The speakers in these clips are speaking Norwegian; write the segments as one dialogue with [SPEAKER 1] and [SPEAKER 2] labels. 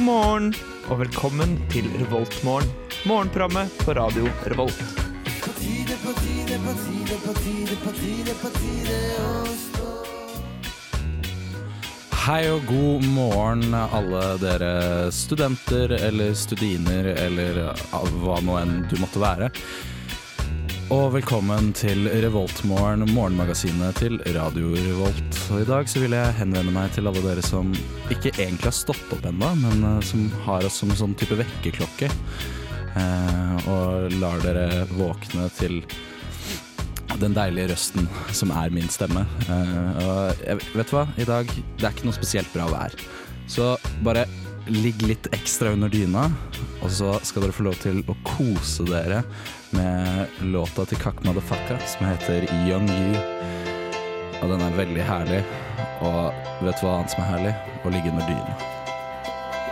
[SPEAKER 1] morgen og velkommen til Revoltmorgen. Morgenprogrammet på radio Revolt.
[SPEAKER 2] Hei og god morgen, alle dere studenter eller studiner eller av hva nå enn du måtte være. Og velkommen til Revoltmorgen, morgenmagasinet til Radio Revolt. Og I dag så vil jeg henvende meg til alle dere som ikke egentlig har stått opp ennå, men eh, som har oss som en sånn type vekkerklokke. Eh, og lar dere våkne til den deilige røsten som er min stemme. Eh, og jeg, vet du hva, i dag det er ikke noe spesielt bra vær. Så bare ligg litt ekstra under dyna, og så skal dere få lov til å kose dere med låta til Kakk Madafaka som heter Young You. Og den er veldig herlig. Og vet du hva annet som er herlig? Å ligge under dyna.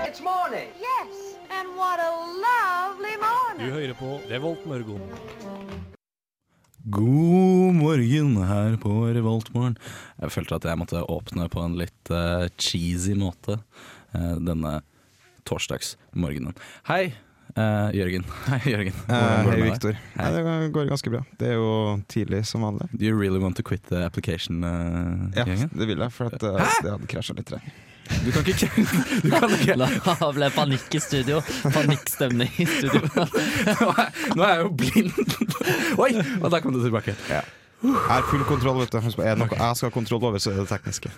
[SPEAKER 3] It's morning.
[SPEAKER 4] Yes, and what a lovely morning.
[SPEAKER 5] hører på Revolt Mørgon.
[SPEAKER 2] God morgen her på Revoltmorgen. Jeg følte at jeg måtte åpne på en litt eh, cheesy måte eh, denne torsdagsmorgenen. Hei, eh, Jørgen. Hei, Jørgen. Hvordan går det
[SPEAKER 6] Eh, hei,
[SPEAKER 2] med deg?
[SPEAKER 6] Viktor.
[SPEAKER 2] Hei.
[SPEAKER 6] Nei, Det går- går ganske bra. Det er jo tidlig som vanlig.
[SPEAKER 2] Do you really want to quit the application, eh,
[SPEAKER 6] Ja,
[SPEAKER 2] Jørgen?
[SPEAKER 6] det vil jeg, for at, eh, det hadde krasja litt. tror jeg.
[SPEAKER 2] Du kan ikke du kan ikke.
[SPEAKER 7] Da ble panikk i studio. Panikkstemning i studio.
[SPEAKER 2] Nå er, nå er jeg jo blind! Oi! Og der kom du tilbake.
[SPEAKER 6] Jeg har full kontroll, vet du. Husk på, Er det noe jeg skal ha kontroll over, så er det tekniske.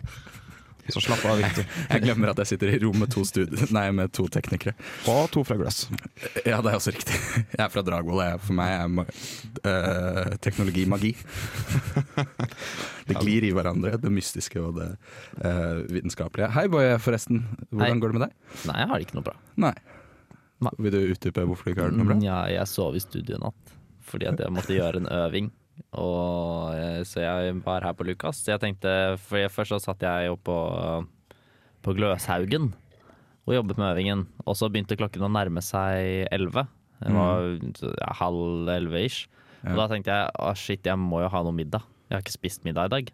[SPEAKER 6] Så slapp av, Viktor.
[SPEAKER 2] Jeg glemmer at jeg sitter i rom med to, studi nei, med to teknikere.
[SPEAKER 6] Og to fra glass.
[SPEAKER 2] Ja, det er også riktig. Jeg er fra Dragvoll. og jeg- For meg er ma eh, teknologi magi. Det glir i hverandre, det mystiske og det eh, vitenskapelige. Hei, Boje, forresten. Hvordan
[SPEAKER 7] Hei.
[SPEAKER 2] går det med deg?
[SPEAKER 7] Nei, jeg har det ikke noe bra.
[SPEAKER 2] Nei.
[SPEAKER 7] Nei.
[SPEAKER 2] Vil du utdype hvorfor du ikke har det noe bra?
[SPEAKER 7] Mm, Ja, jeg sov i studio i natt fordi at jeg måtte gjøre en øving. Og, eh, så jeg var her på Lukas. Så jeg tenkte, for jeg, Først så satt jeg jo på, på Gløshaugen og jobbet med øvingen. Og så begynte klokken å nærme seg elleve. Det var
[SPEAKER 2] Mm.
[SPEAKER 7] ja, halv elleve ish. Og da tenkte jeg å shit, jeg må jo ha noe middag. Jeg har ikke spist middag i dag.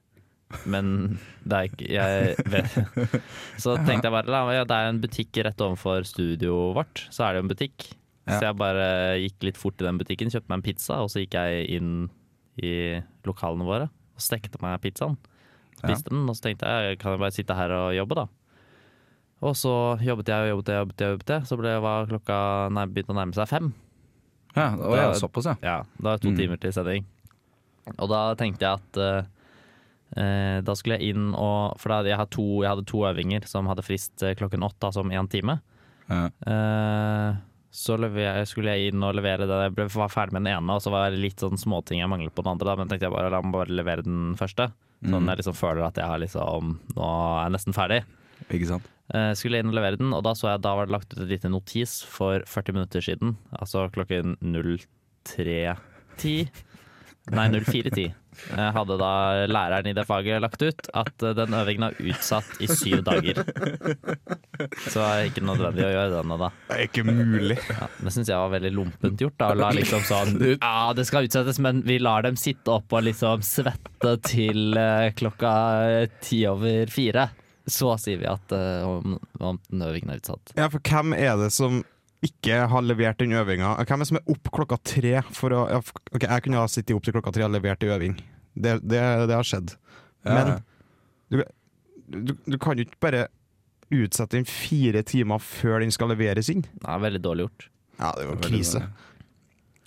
[SPEAKER 7] Men det er ikke jeg vet. Så tenkte jeg bare la meg- ja, det er en butikk rett overfor studioet vårt. Så er det jo en butikk. Så jeg bare gikk litt fort i den butikken, kjøpte meg en pizza, og så gikk jeg inn i lokalene våre og stekte meg pizzaen. Spiste den, og så tenkte jeg kan jeg bare sitte her og jobbe, da. Og så jobbet jeg og jobbet jeg, jobbet jeg, jobbet jeg. Så ble var klokka nær- begynte å nærme seg fem.
[SPEAKER 2] Ja, å, ja, såpass, ja.
[SPEAKER 7] Ja, da er det to timer til sending. Og da tenkte jeg at eh, eh, da skulle jeg inn og For da, hadde jeg, hatt to, jeg hadde to øvinger som hadde frist eh, klokken åtte, altså om én time.
[SPEAKER 2] Ja.
[SPEAKER 7] Eh, så lever- skulle jeg inn og levere det. Jeg ble, var ferdig med den ene, og så var det litt sånn småting jeg manglet på den andre. Da, men tenkte jeg bare la meg bare levere den første. Sånn jeg liksom føler at jeg har liksom Nå er jeg nesten ferdig.
[SPEAKER 2] Ikke sant?
[SPEAKER 7] Eh, skulle inn og levere den, og da så jeg da var det lagt ut et lite notis for 40 minutter siden. Altså klokken 03.10. Nei, 04.10. Eh, hadde da læreren i det faget lagt ut at eh, den øvingen er utsatt i syv dager. Så det er ikke nødvendig å gjøre den nå, da.
[SPEAKER 6] Det er ikke mulig.
[SPEAKER 7] Ja, det syns jeg var veldig lompent gjort. Da. Å La liksom sånn Ja, det skal utsettes, men vi lar dem sitte opp og liksom svette til eh, klokka ti over fire. Så sier vi at eh, om, om den øvingen er utsatt.
[SPEAKER 6] Ja, for hvem er det som ikke har levert den øvinga? Hvem er det som er opp klokka tre for å ja, f- Ok, jeg kunne ha sittet opp til klokka tre og levert i øving. Det, det, det har skjedd.
[SPEAKER 2] Ja.
[SPEAKER 6] Men du, du kan jo ikke bare utsette den fire timer før den skal leveres inn.
[SPEAKER 7] Det er veldig dårlig gjort.
[SPEAKER 6] Ja, det var
[SPEAKER 2] Veldig dårlig.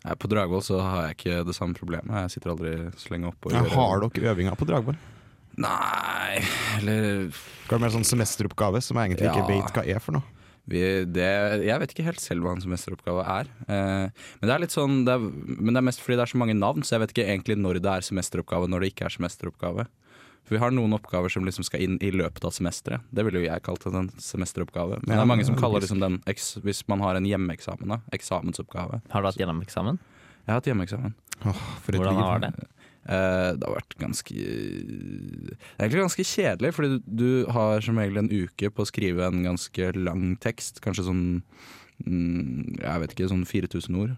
[SPEAKER 2] Nei, På Dragvoll så har jeg ikke det samme problemet. Jeg sitter aldri så lenge oppe. og gjør-
[SPEAKER 6] Har dere øvinger på Dragvoll?
[SPEAKER 2] Nei, eller
[SPEAKER 6] Hva er mer sånn semesteroppgave som jeg egentlig
[SPEAKER 2] Ja.
[SPEAKER 6] ikke vet hva er for noe?
[SPEAKER 2] vi, det, Jeg vet ikke helt selv hva en semesteroppgave er. Eh, men det er litt sånn det er, Men det er mest fordi det er så mange navn, så jeg vet ikke egentlig når det er semesteroppgave og når det ikke er semesteroppgave. For vi har noen oppgaver som liksom skal inn i løpet av semesteret. Det ville jo jeg kalt en semesteroppgave. Men det
[SPEAKER 6] Ja,
[SPEAKER 2] er mange som
[SPEAKER 6] ja,
[SPEAKER 2] kaller
[SPEAKER 6] logisk.
[SPEAKER 2] liksom den, eks, hvis man har en hjemmeeksamen, da. Eksamensoppgave.
[SPEAKER 7] Har du hatt gjennomeksamen?
[SPEAKER 2] Jeg har hatt hjemmeeksamen.
[SPEAKER 6] For
[SPEAKER 7] Hvordan var det?
[SPEAKER 2] Eh, Det har vært ganske Det er egentlig ganske kjedelig, fordi du, du har som regel en uke på å skrive en ganske lang tekst. Kanskje sånn mm, Jeg vet ikke, sånn 4000 ord.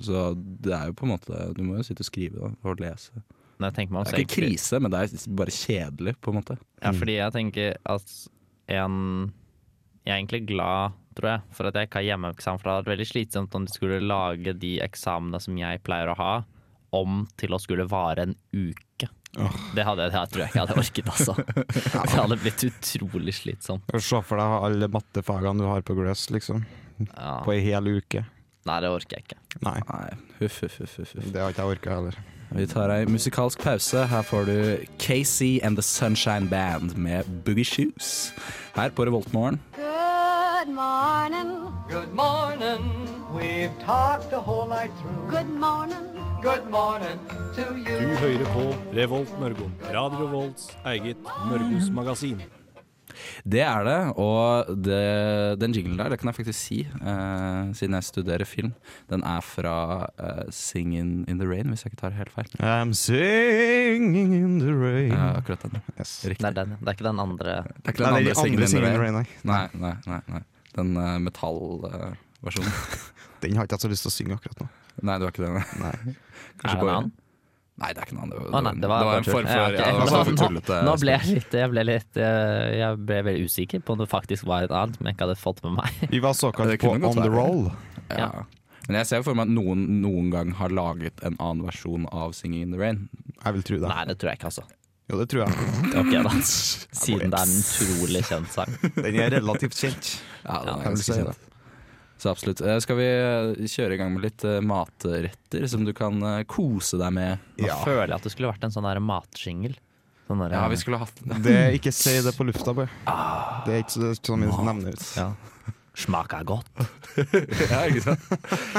[SPEAKER 2] Så det er jo på en måte Du må jo sitte og skrive da, og lese.
[SPEAKER 7] Når jeg tenker meg om,
[SPEAKER 2] Det
[SPEAKER 7] så
[SPEAKER 2] er ikke
[SPEAKER 7] egentlig-
[SPEAKER 2] krise, Mm. men det er bare kjedelig, på en måte.
[SPEAKER 7] Ja, fordi jeg tenker at en jeg er egentlig glad, tror jeg, for at jeg ikke har hjemmeeksamen. For det hadde vært veldig slitsomt om du skulle lage de eksamene som jeg pleier å ha, om til å skulle vare en uke. Det, hadde, det tror jeg ikke jeg hadde orket, altså. Det hadde blitt utrolig slitsomt.
[SPEAKER 6] Se for deg alle mattefagene du har på gløs, liksom.
[SPEAKER 7] Ja.
[SPEAKER 6] På ei hel uke.
[SPEAKER 7] Nei, det orker jeg ikke.
[SPEAKER 6] Nei,
[SPEAKER 2] Nei, huff, huff, huff, huff, huff.
[SPEAKER 6] det har ikke jeg orka heller.
[SPEAKER 2] Vi tar ei musikalsk pause. Her får du Casey and The Sunshine Band med Boogie Shoes. Her på Revoltmorgen.
[SPEAKER 4] Good morning.
[SPEAKER 3] Good morning. We've talked the whole night through.
[SPEAKER 4] Good morning.
[SPEAKER 3] Good morning to
[SPEAKER 5] Du
[SPEAKER 3] you.
[SPEAKER 5] hører på Revolt Mørgo. Radio Revolts eget Mørgos magasin.
[SPEAKER 2] Det er det, og det, den jinglen der, det kan jeg faktisk si, eh, siden jeg studerer film. Den er fra eh, Singin' in the Rain, hvis jeg ikke tar helt feil. Eh,
[SPEAKER 6] I'm singing in the rain.
[SPEAKER 2] Ja, akkurat den.
[SPEAKER 6] Yes.
[SPEAKER 2] Riktig.
[SPEAKER 7] Det er, den, det er ikke den andre
[SPEAKER 2] Det er Mm. ikke
[SPEAKER 6] Nei,
[SPEAKER 2] den
[SPEAKER 6] det er de
[SPEAKER 2] andre
[SPEAKER 6] andre
[SPEAKER 2] Singin' in the Rain.
[SPEAKER 6] nei.
[SPEAKER 2] Nei, nei, nei. nei. Den uh, metallversjonen.
[SPEAKER 6] Den har ikke jeg så lyst til å synge akkurat nå.
[SPEAKER 2] nei, det var ikke den.
[SPEAKER 6] Nei.
[SPEAKER 7] Er det en annen?
[SPEAKER 2] Nei, det er ikke en annen. Det var,
[SPEAKER 7] Å nei, det var,
[SPEAKER 2] en form for
[SPEAKER 7] Ja, ok.
[SPEAKER 2] ja, det var
[SPEAKER 7] Nå-
[SPEAKER 2] en form for tullete.
[SPEAKER 7] Nå ble jeg litt, jeg ble litt eh, Jeg ble veldig usikker på om det faktisk var et annet, men jeg ikke hadde fått med meg.
[SPEAKER 6] Vi var såkalt
[SPEAKER 2] Det
[SPEAKER 6] på
[SPEAKER 2] kunne
[SPEAKER 6] on
[SPEAKER 2] godt
[SPEAKER 6] the
[SPEAKER 2] være.
[SPEAKER 6] roll.
[SPEAKER 2] Ja. Men jeg ser for meg at noen noen gang har laget en annen versjon av 'Singing in the Rain'.
[SPEAKER 6] Jeg vil tro det.
[SPEAKER 7] Nei, det tror jeg ikke, altså.
[SPEAKER 6] Jo, det tror jeg.
[SPEAKER 7] Ok, da. Siden det er en utrolig kjent sang.
[SPEAKER 6] Den er relativt kjent.
[SPEAKER 2] Ja, den er
[SPEAKER 6] jeg vil
[SPEAKER 2] ganske
[SPEAKER 6] si
[SPEAKER 2] kjent. Så absolutt. Eh, Skal vi eh, kjøre i gang med litt eh, matretter som du kan eh, kose deg med?
[SPEAKER 7] Nå
[SPEAKER 6] Ja.
[SPEAKER 7] føler jeg at det skulle vært en sånn der matsjingel. Sånn der,
[SPEAKER 2] Ja, vi skulle hatt den.
[SPEAKER 6] Det, ikke si det på lufta, bare. Det er ikke så- det er ikke sånn vi nevner det.
[SPEAKER 7] eh, ja. Smaker godt.
[SPEAKER 2] Ja, ikke sant?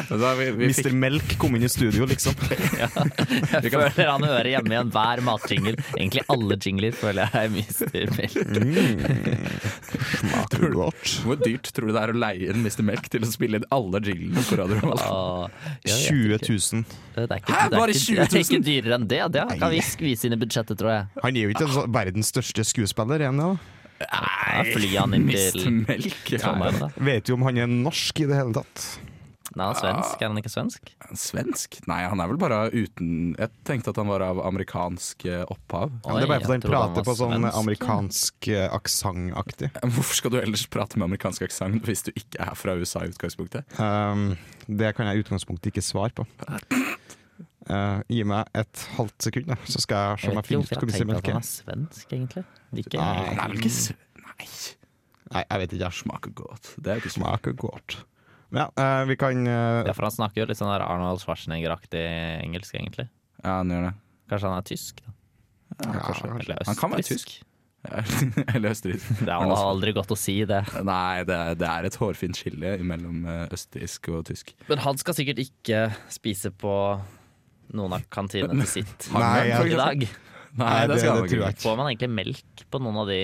[SPEAKER 2] Så da vi, vi,
[SPEAKER 6] Mr.
[SPEAKER 2] fikk,
[SPEAKER 6] Melk kom inn i studio, liksom.
[SPEAKER 7] Jeg føler han hører hjemme igjen hver matjingle. Egentlig alle jingler føler jeg mister melk.
[SPEAKER 6] Mm. Smaker godt.
[SPEAKER 2] hvor dyrt tror du det er å leie en Mr. Melk til å spille inn alle jinglene på Radio Revolt?
[SPEAKER 7] Åh, jeg vet
[SPEAKER 6] 20
[SPEAKER 7] ikke.
[SPEAKER 6] 000.
[SPEAKER 7] Det er ikke,
[SPEAKER 2] Hæ,
[SPEAKER 7] det er
[SPEAKER 2] bare
[SPEAKER 7] ikke-
[SPEAKER 2] 20 000?
[SPEAKER 7] Det er ikke dyrere enn det. Det kan vi skvise inn i budsjettet, tror jeg.
[SPEAKER 6] Han er jo ikke en sånn verdens største skuespiller, er han det? da?
[SPEAKER 7] Ja, Fly han inn
[SPEAKER 2] Mr.
[SPEAKER 7] til
[SPEAKER 2] Melk?
[SPEAKER 7] Trondheim, da.
[SPEAKER 6] Vet jo om han er norsk i det hele tatt.
[SPEAKER 7] Nei, han er svensk. Er han ikke svensk?
[SPEAKER 2] Er han Svensk? Nei, han er vel bare uten Jeg tenkte at han var av amerikansk eh, opphav.
[SPEAKER 6] Ja, men det er
[SPEAKER 7] Oi,
[SPEAKER 6] bare fordi
[SPEAKER 7] jeg
[SPEAKER 6] han
[SPEAKER 7] trodde han
[SPEAKER 6] prater
[SPEAKER 7] var
[SPEAKER 6] på sånn
[SPEAKER 7] svensk.
[SPEAKER 6] amerikansk eh, aksent-aktig.
[SPEAKER 2] Hvorfor skal du ellers prate med amerikansk aksent hvis du ikke er fra USA i utgangspunktet?
[SPEAKER 6] Um, det kan jeg i utgangspunktet ikke svare på. Eh, gi meg et halvt sekund, da, så sånn skal jeg se
[SPEAKER 7] Jeg
[SPEAKER 6] om jeg
[SPEAKER 7] vet
[SPEAKER 6] finner ut
[SPEAKER 7] ikke hvorfor
[SPEAKER 6] hvor
[SPEAKER 7] jeg
[SPEAKER 6] mye som er melk.
[SPEAKER 7] tenkte at han er svensk, egentlig. Ikke,
[SPEAKER 6] Nei.
[SPEAKER 2] Han er vel ikke s- Nei,
[SPEAKER 6] Nei, jeg vet ikke. jeg
[SPEAKER 2] smaker godt. Det er jo ikke smak.
[SPEAKER 6] Smaker godt. Men ja, eh, vi kan eh,
[SPEAKER 7] Ja, for han snakker jo litt sånn der Arnold Schwarzenegger-aktig engelsk, egentlig.
[SPEAKER 2] Ja, han gjør det.
[SPEAKER 7] Kanskje han er tysk? da?
[SPEAKER 6] ja, kanskje.
[SPEAKER 7] Eller østtysk?
[SPEAKER 2] Han kan være tysk. Eller østerriksk.
[SPEAKER 7] Det er jo aldri godt å si, det.
[SPEAKER 2] Nei, det er, det er et hårfint skille mellom østerriksk og tysk.
[SPEAKER 7] Men han skal sikkert ikke spise på noen av kantinene sitt
[SPEAKER 6] Nei,
[SPEAKER 7] i
[SPEAKER 6] jeg,
[SPEAKER 7] dag.
[SPEAKER 2] Nei,
[SPEAKER 6] Nei,
[SPEAKER 2] det
[SPEAKER 6] det-
[SPEAKER 2] skal
[SPEAKER 6] det
[SPEAKER 2] han
[SPEAKER 6] tror
[SPEAKER 2] ikke.
[SPEAKER 6] jeg
[SPEAKER 7] Får man egentlig melk på noen av de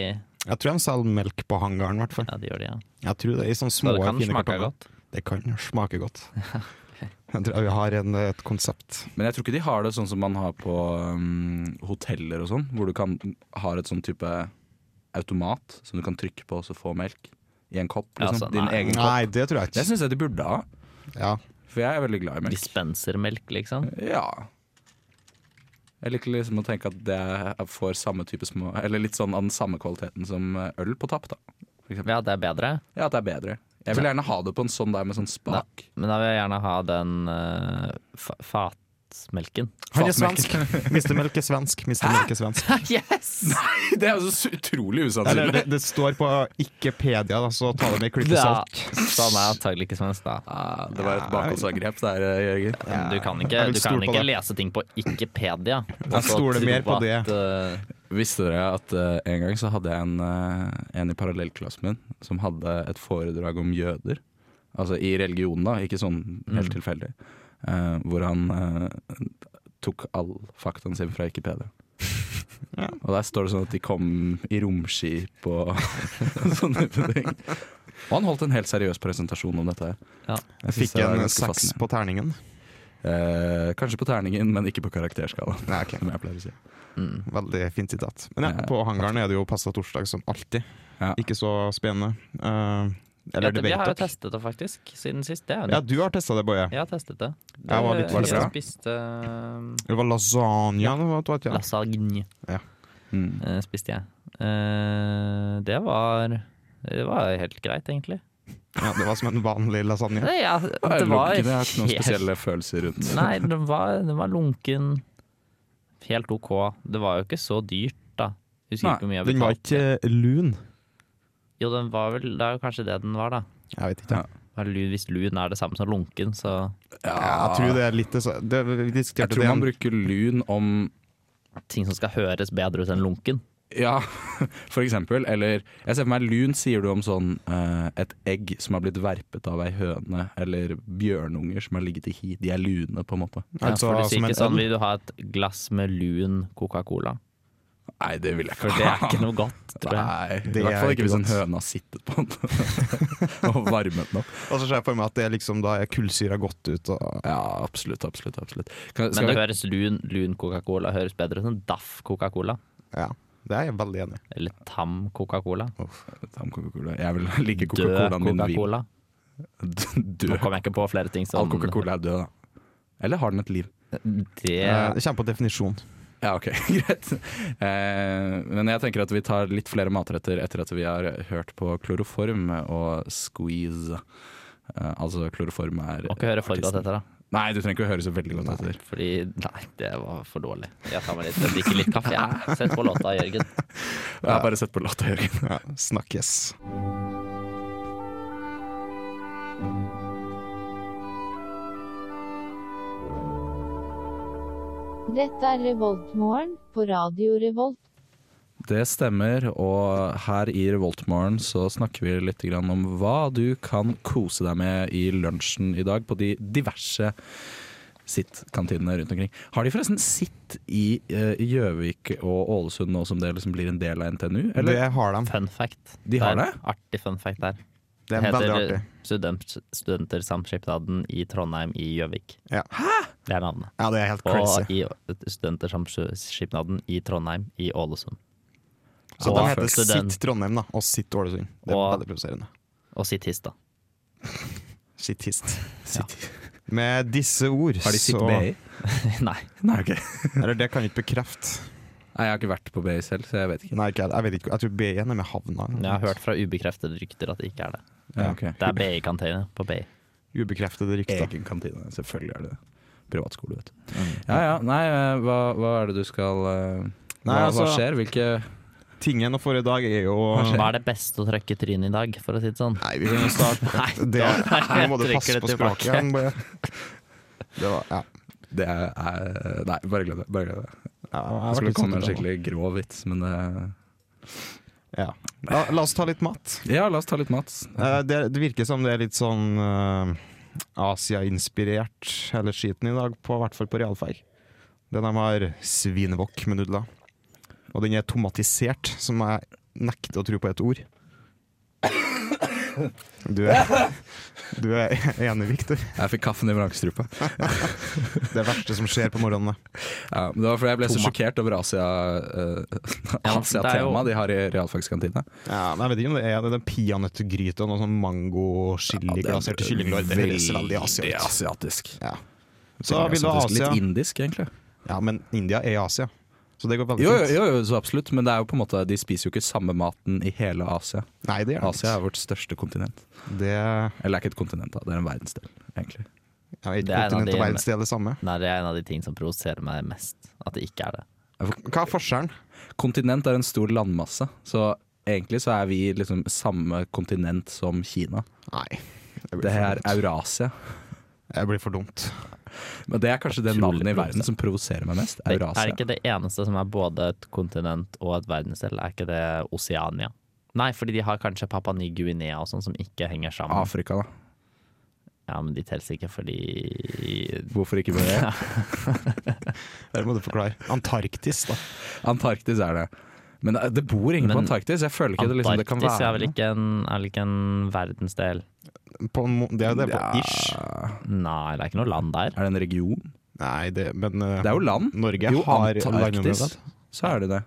[SPEAKER 6] jeg tror de selger melk på hangaren, i hvert fall.
[SPEAKER 7] Ja, de gjør det, ja.
[SPEAKER 6] Jeg tror det er i sånne
[SPEAKER 7] Så
[SPEAKER 6] små,
[SPEAKER 7] det kan
[SPEAKER 6] fine
[SPEAKER 7] smake
[SPEAKER 6] kartonger.
[SPEAKER 7] godt.
[SPEAKER 6] Det kan smake godt. Jeg tror vi har en, et konsept.
[SPEAKER 2] Men jeg tror ikke de har det sånn som man har på um, hoteller og sånn, hvor du kan, har et sånn type automat som du kan trykke på og så få melk i en kopp.
[SPEAKER 7] Ja,
[SPEAKER 2] Liksom.
[SPEAKER 7] sånn,
[SPEAKER 2] Din
[SPEAKER 7] nei.
[SPEAKER 2] egen kopp.
[SPEAKER 6] Nei, det tror jeg
[SPEAKER 2] Det
[SPEAKER 6] ikke.
[SPEAKER 2] syns jeg de burde ha,
[SPEAKER 6] Ja.
[SPEAKER 2] for jeg er veldig glad i melk.
[SPEAKER 7] Dispensermelk, liksom.
[SPEAKER 2] Ja. Jeg liker liksom å tenke at det er- får samme type små Eller litt sånn av den samme kvaliteten som eh, øl på tapp, da. For eksempel.
[SPEAKER 7] Ja, det er bedre.
[SPEAKER 2] Ja, at det er bedre. Jeg vil gjerne ha det på en sånn der med sånn spak.
[SPEAKER 7] Men da vil jeg gjerne ha den eh, fa fatmelken.
[SPEAKER 6] Han er svensk. Mr. Melk er svensk. Mr. Melk er svensk.
[SPEAKER 7] Yes!
[SPEAKER 2] Det er jo så utrolig
[SPEAKER 6] Eller,
[SPEAKER 2] usannsynlig.
[SPEAKER 6] det, det står på Ikkepedia, da, så ta det med en klype
[SPEAKER 7] Ja,
[SPEAKER 6] salt.
[SPEAKER 7] så han Sånn er antagelig ikke svensk, da.
[SPEAKER 2] Ja, det var et bakholdsangrep der, eh, Jørgen.
[SPEAKER 7] Men Du kan ikke,
[SPEAKER 6] Jeg vil
[SPEAKER 7] du
[SPEAKER 6] stole
[SPEAKER 7] kan
[SPEAKER 6] på
[SPEAKER 7] ikke
[SPEAKER 6] det.
[SPEAKER 7] lese ting på Ikkepedia.
[SPEAKER 6] Jeg stoler mer på det.
[SPEAKER 2] eh, Visste dere at eh, en gang så hadde jeg en, eh, en i parallellklassen min som hadde et foredrag om jøder. Altså i religionen, da, ikke sånn helt tilfeldig. Eh, hvor han eh, tok all faktaen sin fra Wikipedia.
[SPEAKER 6] Ja.
[SPEAKER 2] Og der står det sånn at de kom i romskip og sånne type ting. Og han holdt en helt seriøs presentasjon om dette.
[SPEAKER 7] Ja.
[SPEAKER 2] Jeg synes
[SPEAKER 6] Fikk
[SPEAKER 2] det var
[SPEAKER 6] en
[SPEAKER 2] ganske
[SPEAKER 6] seks
[SPEAKER 2] fascinerende.
[SPEAKER 6] på terningen.
[SPEAKER 2] Eh, kanskje på terningen, men ikke på karakterskala.
[SPEAKER 6] Nei, ok.
[SPEAKER 2] Som jeg pleier å si.
[SPEAKER 6] Veldig fint sitat. Men ja, på hangaren er det jo pasta torsdag som alltid.
[SPEAKER 2] Ja.
[SPEAKER 6] Ikke så spennende. Eh, eller det
[SPEAKER 7] Vi har jo
[SPEAKER 6] vet dere.
[SPEAKER 7] testet det, faktisk, siden sist. Det er
[SPEAKER 6] Ja,
[SPEAKER 7] jo
[SPEAKER 6] du har testa det, Boje.
[SPEAKER 7] Jeg har testet det.
[SPEAKER 6] Ja, hva- var det
[SPEAKER 7] jeg
[SPEAKER 6] bra?
[SPEAKER 7] spiste eh,
[SPEAKER 6] Det var lasagne. det var- det var ikke-
[SPEAKER 7] lasagne.
[SPEAKER 6] Ja.
[SPEAKER 2] Mm.
[SPEAKER 7] eh, spiste jeg. Eh, det var Det var helt greit, egentlig.
[SPEAKER 6] Ja, det var som en vanlig lasagne.
[SPEAKER 7] Nei, ja,
[SPEAKER 2] Det
[SPEAKER 7] det var
[SPEAKER 2] var ikke noen
[SPEAKER 7] helt
[SPEAKER 2] spesielle følelser rundt.
[SPEAKER 7] Nei, den var, den var lunken. Helt OK. Det var jo ikke så dyrt, da. Husker
[SPEAKER 2] Nei,
[SPEAKER 7] ikke hvor mye jeg
[SPEAKER 6] Den var
[SPEAKER 7] betalte.
[SPEAKER 6] ikke lun.
[SPEAKER 7] Jo, den var vel Det er jo kanskje det den var, da.
[SPEAKER 6] Jeg vet ikke.
[SPEAKER 2] Ja.
[SPEAKER 7] Hva er lun- Hvis lun er det samme som lunken, så
[SPEAKER 6] Jeg tror det er litt det sa- det, Vi
[SPEAKER 2] Jeg
[SPEAKER 6] diskuterte
[SPEAKER 2] tror
[SPEAKER 6] det
[SPEAKER 2] man bruker lun om
[SPEAKER 7] Ting som skal høres bedre ut enn lunken.
[SPEAKER 2] Ja, for eksempel. Eller jeg ser for meg lun sier du om sånn eh, et egg som har blitt verpet av ei høne, eller bjørnunger som har ligget i hi. De er lune, på en måte.
[SPEAKER 6] altså,
[SPEAKER 7] ja, for du sier
[SPEAKER 6] som en
[SPEAKER 7] ikke sånn
[SPEAKER 6] øl.
[SPEAKER 7] Vil du ha et glass med lun Coca-Cola?
[SPEAKER 2] Nei, det vil jeg
[SPEAKER 7] For det er ikke noe godt, tror jeg.
[SPEAKER 2] Nei,
[SPEAKER 6] Det
[SPEAKER 2] I hvert fall
[SPEAKER 6] er
[SPEAKER 2] ikke
[SPEAKER 6] ikke
[SPEAKER 2] hvis en
[SPEAKER 6] godt.
[SPEAKER 2] høne har sittet på den og varmet den opp.
[SPEAKER 6] Og så ser jeg for meg at det er liksom da er kullsyra godt ut. Og,
[SPEAKER 2] Ja, absolutt, absolutt. absolutt. Kan,
[SPEAKER 7] Men
[SPEAKER 2] skal
[SPEAKER 7] det
[SPEAKER 2] vi,
[SPEAKER 7] høres lun, lun Coca-Cola høres bedre ut enn Daff Coca-Cola.
[SPEAKER 6] ja, det er jeg veldig enig i.
[SPEAKER 7] Eller Tam Coca-Cola.
[SPEAKER 2] Ta om Coca-Cola. Jeg vil like
[SPEAKER 7] Død
[SPEAKER 2] Coca-Colaen min vil.
[SPEAKER 7] Coca-Cola.
[SPEAKER 2] Død.
[SPEAKER 7] Nå kom jeg ikke på flere ting som
[SPEAKER 2] All Coca-Cola er død, da. Eller har den et liv?
[SPEAKER 7] Det
[SPEAKER 6] Eh, Det kommer på definisjon.
[SPEAKER 2] Ja, ok, greit. Eh, men jeg tenker at vi tar litt flere matretter etter at vi har hørt på kloroform og squeeze. Eh, altså kloroform er
[SPEAKER 7] Må ikke høre for godt
[SPEAKER 2] artisten.
[SPEAKER 7] etter, da.
[SPEAKER 2] Nei, du trenger ikke å høre så veldig godt etter.
[SPEAKER 7] Fordi Nei, det var for dårlig. Jeg tar meg litt, jeg drikker litt kaffe. jeg. Sett på låta, Jørgen.
[SPEAKER 2] Jeg har bare sett på låta, Jørgen.
[SPEAKER 6] Ja, snakkes.
[SPEAKER 8] Dette er Revoltmorgen på Radio Revolt.
[SPEAKER 2] Det stemmer, og her i Revoltmorgen så snakker vi litt grann om hva du kan kose deg med i lunsjen i dag på de diverse sitt-kantinene rundt omkring. Har de forresten sitt i eh, Gjøvik og Ålesund nå som det liksom blir en del av NTNU? Eller?
[SPEAKER 6] Det har de.
[SPEAKER 7] Fun fact.
[SPEAKER 2] De har
[SPEAKER 7] Der.
[SPEAKER 2] det?
[SPEAKER 7] Artig fun fact der.
[SPEAKER 6] Det er veldig artig.
[SPEAKER 7] Student, Studentersamskipnaden i Trondheim i Gjøvik.
[SPEAKER 6] Ja.
[SPEAKER 7] Det er navnet.
[SPEAKER 6] Ja, det er helt
[SPEAKER 7] Og
[SPEAKER 6] crazy.
[SPEAKER 7] i Studentersamskipnaden i Trondheim i Ålesund.
[SPEAKER 6] Så
[SPEAKER 7] og
[SPEAKER 6] de heter
[SPEAKER 7] student-
[SPEAKER 6] Sitt Trondheim da, og Sitt Ålesund. Det er
[SPEAKER 7] Og-
[SPEAKER 6] veldig provoserende.
[SPEAKER 7] Og sitt hist, da.
[SPEAKER 6] Sitt hist.
[SPEAKER 2] Sitt.
[SPEAKER 6] Med disse ord
[SPEAKER 2] Har de sitt
[SPEAKER 6] så
[SPEAKER 2] BI?
[SPEAKER 7] Nei.
[SPEAKER 2] Nei, ok.
[SPEAKER 6] Eller det kan jeg ikke bekrefte.
[SPEAKER 2] Nei, jeg har ikke vært på BI selv, så jeg vet ikke.
[SPEAKER 6] Nei, ikke, jeg- jeg vet ikke. Jeg tror B-en er med havna.
[SPEAKER 7] Jeg har hørt fra ubekreftede rykter at det ikke er det.
[SPEAKER 2] Ja, ok.
[SPEAKER 7] Det er BI-kantine på BI.
[SPEAKER 6] Ubekreftede rykter.
[SPEAKER 2] Egen kantine, selvfølgelig er det det. Privatskole, vet du. Ja ja, nei, eh, hva, hva er det du skal eh, hva,
[SPEAKER 6] Nei,
[SPEAKER 2] hva
[SPEAKER 6] altså-
[SPEAKER 2] skjer? Hvilke
[SPEAKER 6] Tingen for i dag er jo
[SPEAKER 7] Hva er det beste å trøkke trynet i dag, for å si det sånn?
[SPEAKER 6] Nei, vi kan jo starte det, Nå må du
[SPEAKER 7] jeg
[SPEAKER 6] passe
[SPEAKER 7] trekker
[SPEAKER 6] på
[SPEAKER 7] det tilbake.
[SPEAKER 6] språket. men bare- Det var, ja.
[SPEAKER 2] Det er er- Nei, bare glem det. Bare glem det.
[SPEAKER 6] Ja,
[SPEAKER 2] Jeg
[SPEAKER 6] var
[SPEAKER 2] skulle
[SPEAKER 6] litt
[SPEAKER 2] komme med en
[SPEAKER 6] satt ut av det.
[SPEAKER 2] skikkelig grå vits, men eh,
[SPEAKER 6] ja. la, la oss ta litt mat.
[SPEAKER 2] Ja, la oss ta litt mat.
[SPEAKER 6] Eh, det, det virker som det er litt sånn eh, Asia-inspirert, hele skiten i dag, på, i hvert fall på realfag. Den de har svinewok med nudler. Og den er tomatisert, som jeg nekter å tro på et ord. Du er, du er enig, Victor.
[SPEAKER 2] Jeg fikk kaffen i vrangstrupa.
[SPEAKER 6] Det verste som skjer på morgenen.
[SPEAKER 2] Ja, men det var fordi jeg ble så
[SPEAKER 7] Tomat.
[SPEAKER 2] sjokkert over Asia-temaet
[SPEAKER 7] Ja,
[SPEAKER 2] Asia
[SPEAKER 7] det er jo-
[SPEAKER 2] tema de har i realfagskantina.
[SPEAKER 6] Ja, men jeg vet ikke om det er det, er peanøttgryte og noe sånn mango-chiliglaserte kyllinglår. Det høres veldig Asia
[SPEAKER 2] Veldig
[SPEAKER 6] ut.
[SPEAKER 2] asiatisk.
[SPEAKER 6] Ja. Så vil du ha
[SPEAKER 2] Asiatisk.
[SPEAKER 6] Asia
[SPEAKER 2] Litt indisk, egentlig.
[SPEAKER 6] Ja, men India er Asia, så det går veldig
[SPEAKER 2] Jo, jo,
[SPEAKER 6] fint.
[SPEAKER 2] jo, jo, så absolutt, men det er jo på en måte de spiser jo ikke samme maten i hele Asia.
[SPEAKER 6] Nei, det gjør
[SPEAKER 2] Asia
[SPEAKER 6] det
[SPEAKER 2] er vårt største kontinent.
[SPEAKER 6] ikke. Det er
[SPEAKER 2] Eller ikke et kontinent, da. Det er en verdensdel, egentlig.
[SPEAKER 6] ja,
[SPEAKER 7] Det
[SPEAKER 6] ikke
[SPEAKER 7] er en av
[SPEAKER 6] kontinent
[SPEAKER 7] de-
[SPEAKER 6] og verdens del det samme.
[SPEAKER 7] Nei, det er en av de ting som provoserer meg mest. At det ikke er det.
[SPEAKER 6] Hva er forskjellen?
[SPEAKER 2] Kontinent er en stor landmasse, så egentlig så er vi liksom samme kontinent som Kina.
[SPEAKER 6] Nei, det
[SPEAKER 2] Det
[SPEAKER 6] blir,
[SPEAKER 2] her
[SPEAKER 6] for, dumt.
[SPEAKER 2] er Eurasia.
[SPEAKER 6] det blir for dumt.
[SPEAKER 2] Men det er kanskje det
[SPEAKER 7] Utrolig
[SPEAKER 2] navnet i verden
[SPEAKER 7] provoserende.
[SPEAKER 2] som provoserer meg mest.
[SPEAKER 7] det er
[SPEAKER 2] Eurasia.
[SPEAKER 7] ikke det eneste som er både et kontinent og et verdensdel, er ikke det Oseania? Nei, fordi de har kanskje Papua Ny-Guinea og sånn som ikke henger
[SPEAKER 6] Ah,
[SPEAKER 7] sammen.
[SPEAKER 2] Afrika, da.
[SPEAKER 7] Ja, men de teller ikke fordi
[SPEAKER 2] Hvorfor ikke det?
[SPEAKER 6] Det må du forklare. Antarktis, da.
[SPEAKER 2] Antarktis er det. Men det bor ingen på
[SPEAKER 7] Men
[SPEAKER 2] Antarktis. Jeg føler ikke det, liksom, det kan
[SPEAKER 7] Antarktis
[SPEAKER 2] være
[SPEAKER 7] er vel ikke en, er vel ikke en verdensdel?
[SPEAKER 6] På, en må- det er det på
[SPEAKER 2] Ja.
[SPEAKER 6] ish.
[SPEAKER 7] Nei, det er ikke noe land der.
[SPEAKER 2] Er det en region?
[SPEAKER 6] Nei, det, men eh,
[SPEAKER 2] Det er jo land.
[SPEAKER 6] Norge
[SPEAKER 2] Jo,
[SPEAKER 6] har
[SPEAKER 2] Antarktis.
[SPEAKER 6] landområder.
[SPEAKER 2] Så er det det.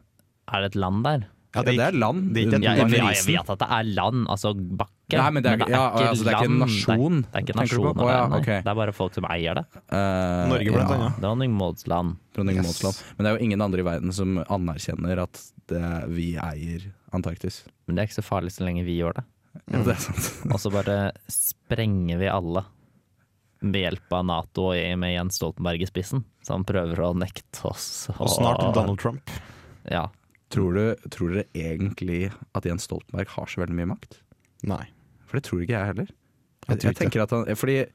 [SPEAKER 7] Er det et land der?
[SPEAKER 2] Ja, det, er land.
[SPEAKER 6] det er ikke et
[SPEAKER 7] Ja,
[SPEAKER 2] under
[SPEAKER 7] jeg, jeg, jeg
[SPEAKER 2] isen.
[SPEAKER 7] vet at det er land, altså bakke ikke.
[SPEAKER 2] Nei, men det er- ja, altså, det er ikke en
[SPEAKER 7] land,
[SPEAKER 2] nasjon,
[SPEAKER 7] Det er, det er ikke en
[SPEAKER 2] tenker du
[SPEAKER 7] nasjon
[SPEAKER 2] på?
[SPEAKER 7] av
[SPEAKER 2] Å, ja,
[SPEAKER 7] verden, nei.
[SPEAKER 2] ok.
[SPEAKER 7] Det er bare folk som eier det.
[SPEAKER 2] Eh,
[SPEAKER 6] Norge, blant annet.
[SPEAKER 7] Dronning Mauds land.
[SPEAKER 2] Dronning
[SPEAKER 6] Yes.
[SPEAKER 2] Mauds land. Men det er jo ingen andre i verden som anerkjenner at det, vi eier Antarktis.
[SPEAKER 7] Men det er ikke så farlig så lenge vi gjør det. Mm.
[SPEAKER 2] Ja, det er sant.
[SPEAKER 7] Og så bare sprenger vi alle ved hjelp av Nato og E med Jens Stoltenberg i spissen, som prøver å nekte oss å-
[SPEAKER 6] Og snart Donald Trump.
[SPEAKER 7] Ja.
[SPEAKER 2] Tror, du, tror dere egentlig at Jens Stoltenberg har så veldig mye makt?
[SPEAKER 6] Nei.
[SPEAKER 2] For det tror ikke jeg heller.
[SPEAKER 6] Jeg
[SPEAKER 2] Jeg,
[SPEAKER 6] tror
[SPEAKER 2] jeg
[SPEAKER 6] ikke det.
[SPEAKER 2] tenker at han, fordi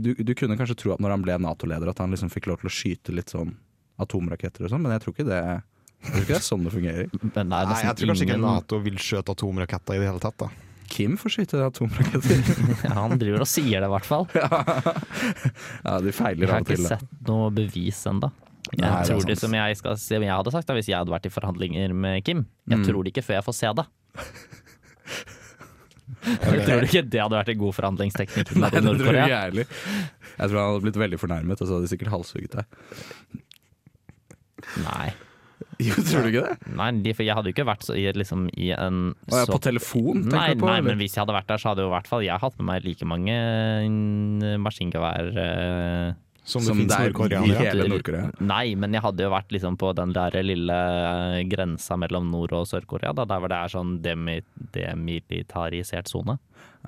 [SPEAKER 2] du, du kunne kanskje tro at når han ble Nato-leder at han liksom fikk lov til å skyte litt sånn atomraketter og sånn, men jeg tror ikke det jeg tror ikke det er sånn det fungerer.
[SPEAKER 7] Men det er
[SPEAKER 6] Nei,
[SPEAKER 7] nesten
[SPEAKER 6] jeg tror kanskje ikke
[SPEAKER 7] ingen
[SPEAKER 6] Nato vil skjøte atomraketter i det hele tatt. da
[SPEAKER 2] Kim får skyte atomraketter.
[SPEAKER 7] ja, Han driver og sier det, i hvert fall.
[SPEAKER 2] Ja, de
[SPEAKER 7] Jeg
[SPEAKER 2] feiler
[SPEAKER 7] har
[SPEAKER 2] av og
[SPEAKER 7] ikke
[SPEAKER 2] til. da.
[SPEAKER 7] sett noe bevis ennå. Jeg
[SPEAKER 2] Nei, det er
[SPEAKER 7] tror det
[SPEAKER 2] sant.
[SPEAKER 7] som jeg, skal, si- jeg hadde sagt da, hvis jeg hadde vært i forhandlinger med Kim. Jeg
[SPEAKER 2] Mm.
[SPEAKER 7] tror det ikke før jeg får se det. Jeg tror ikke det hadde vært en god forhandlingsteknikk
[SPEAKER 2] Nei,
[SPEAKER 7] i
[SPEAKER 2] det tror jeg
[SPEAKER 7] Nord-Korea.
[SPEAKER 2] heller. Jeg tror han hadde blitt veldig fornærmet, og så hadde de sikkert halshugget deg.
[SPEAKER 7] Nei.
[SPEAKER 2] Jo, tror du ikke det?
[SPEAKER 7] nei, de- for jeg hadde jo ikke vært så, i, liksom, i en
[SPEAKER 2] Å, ja,
[SPEAKER 7] så
[SPEAKER 2] på telefon, tenker
[SPEAKER 7] Nei,
[SPEAKER 2] du på?
[SPEAKER 7] nei,
[SPEAKER 2] eller?
[SPEAKER 7] men hvis jeg hadde vært der, så hadde jo i hvert fall jeg hatt med meg like mange eh, maskingevær eh,
[SPEAKER 6] Som,
[SPEAKER 2] Som
[SPEAKER 6] det finnes
[SPEAKER 2] det er i
[SPEAKER 6] nordkoreanere.
[SPEAKER 2] hele Nord-Korea.
[SPEAKER 7] Nei, men jeg hadde jo vært liksom på den der lille eh, grensa mellom Nord- og Sør-Korea, da, der hvor det er sånn demi demilitarisert sone.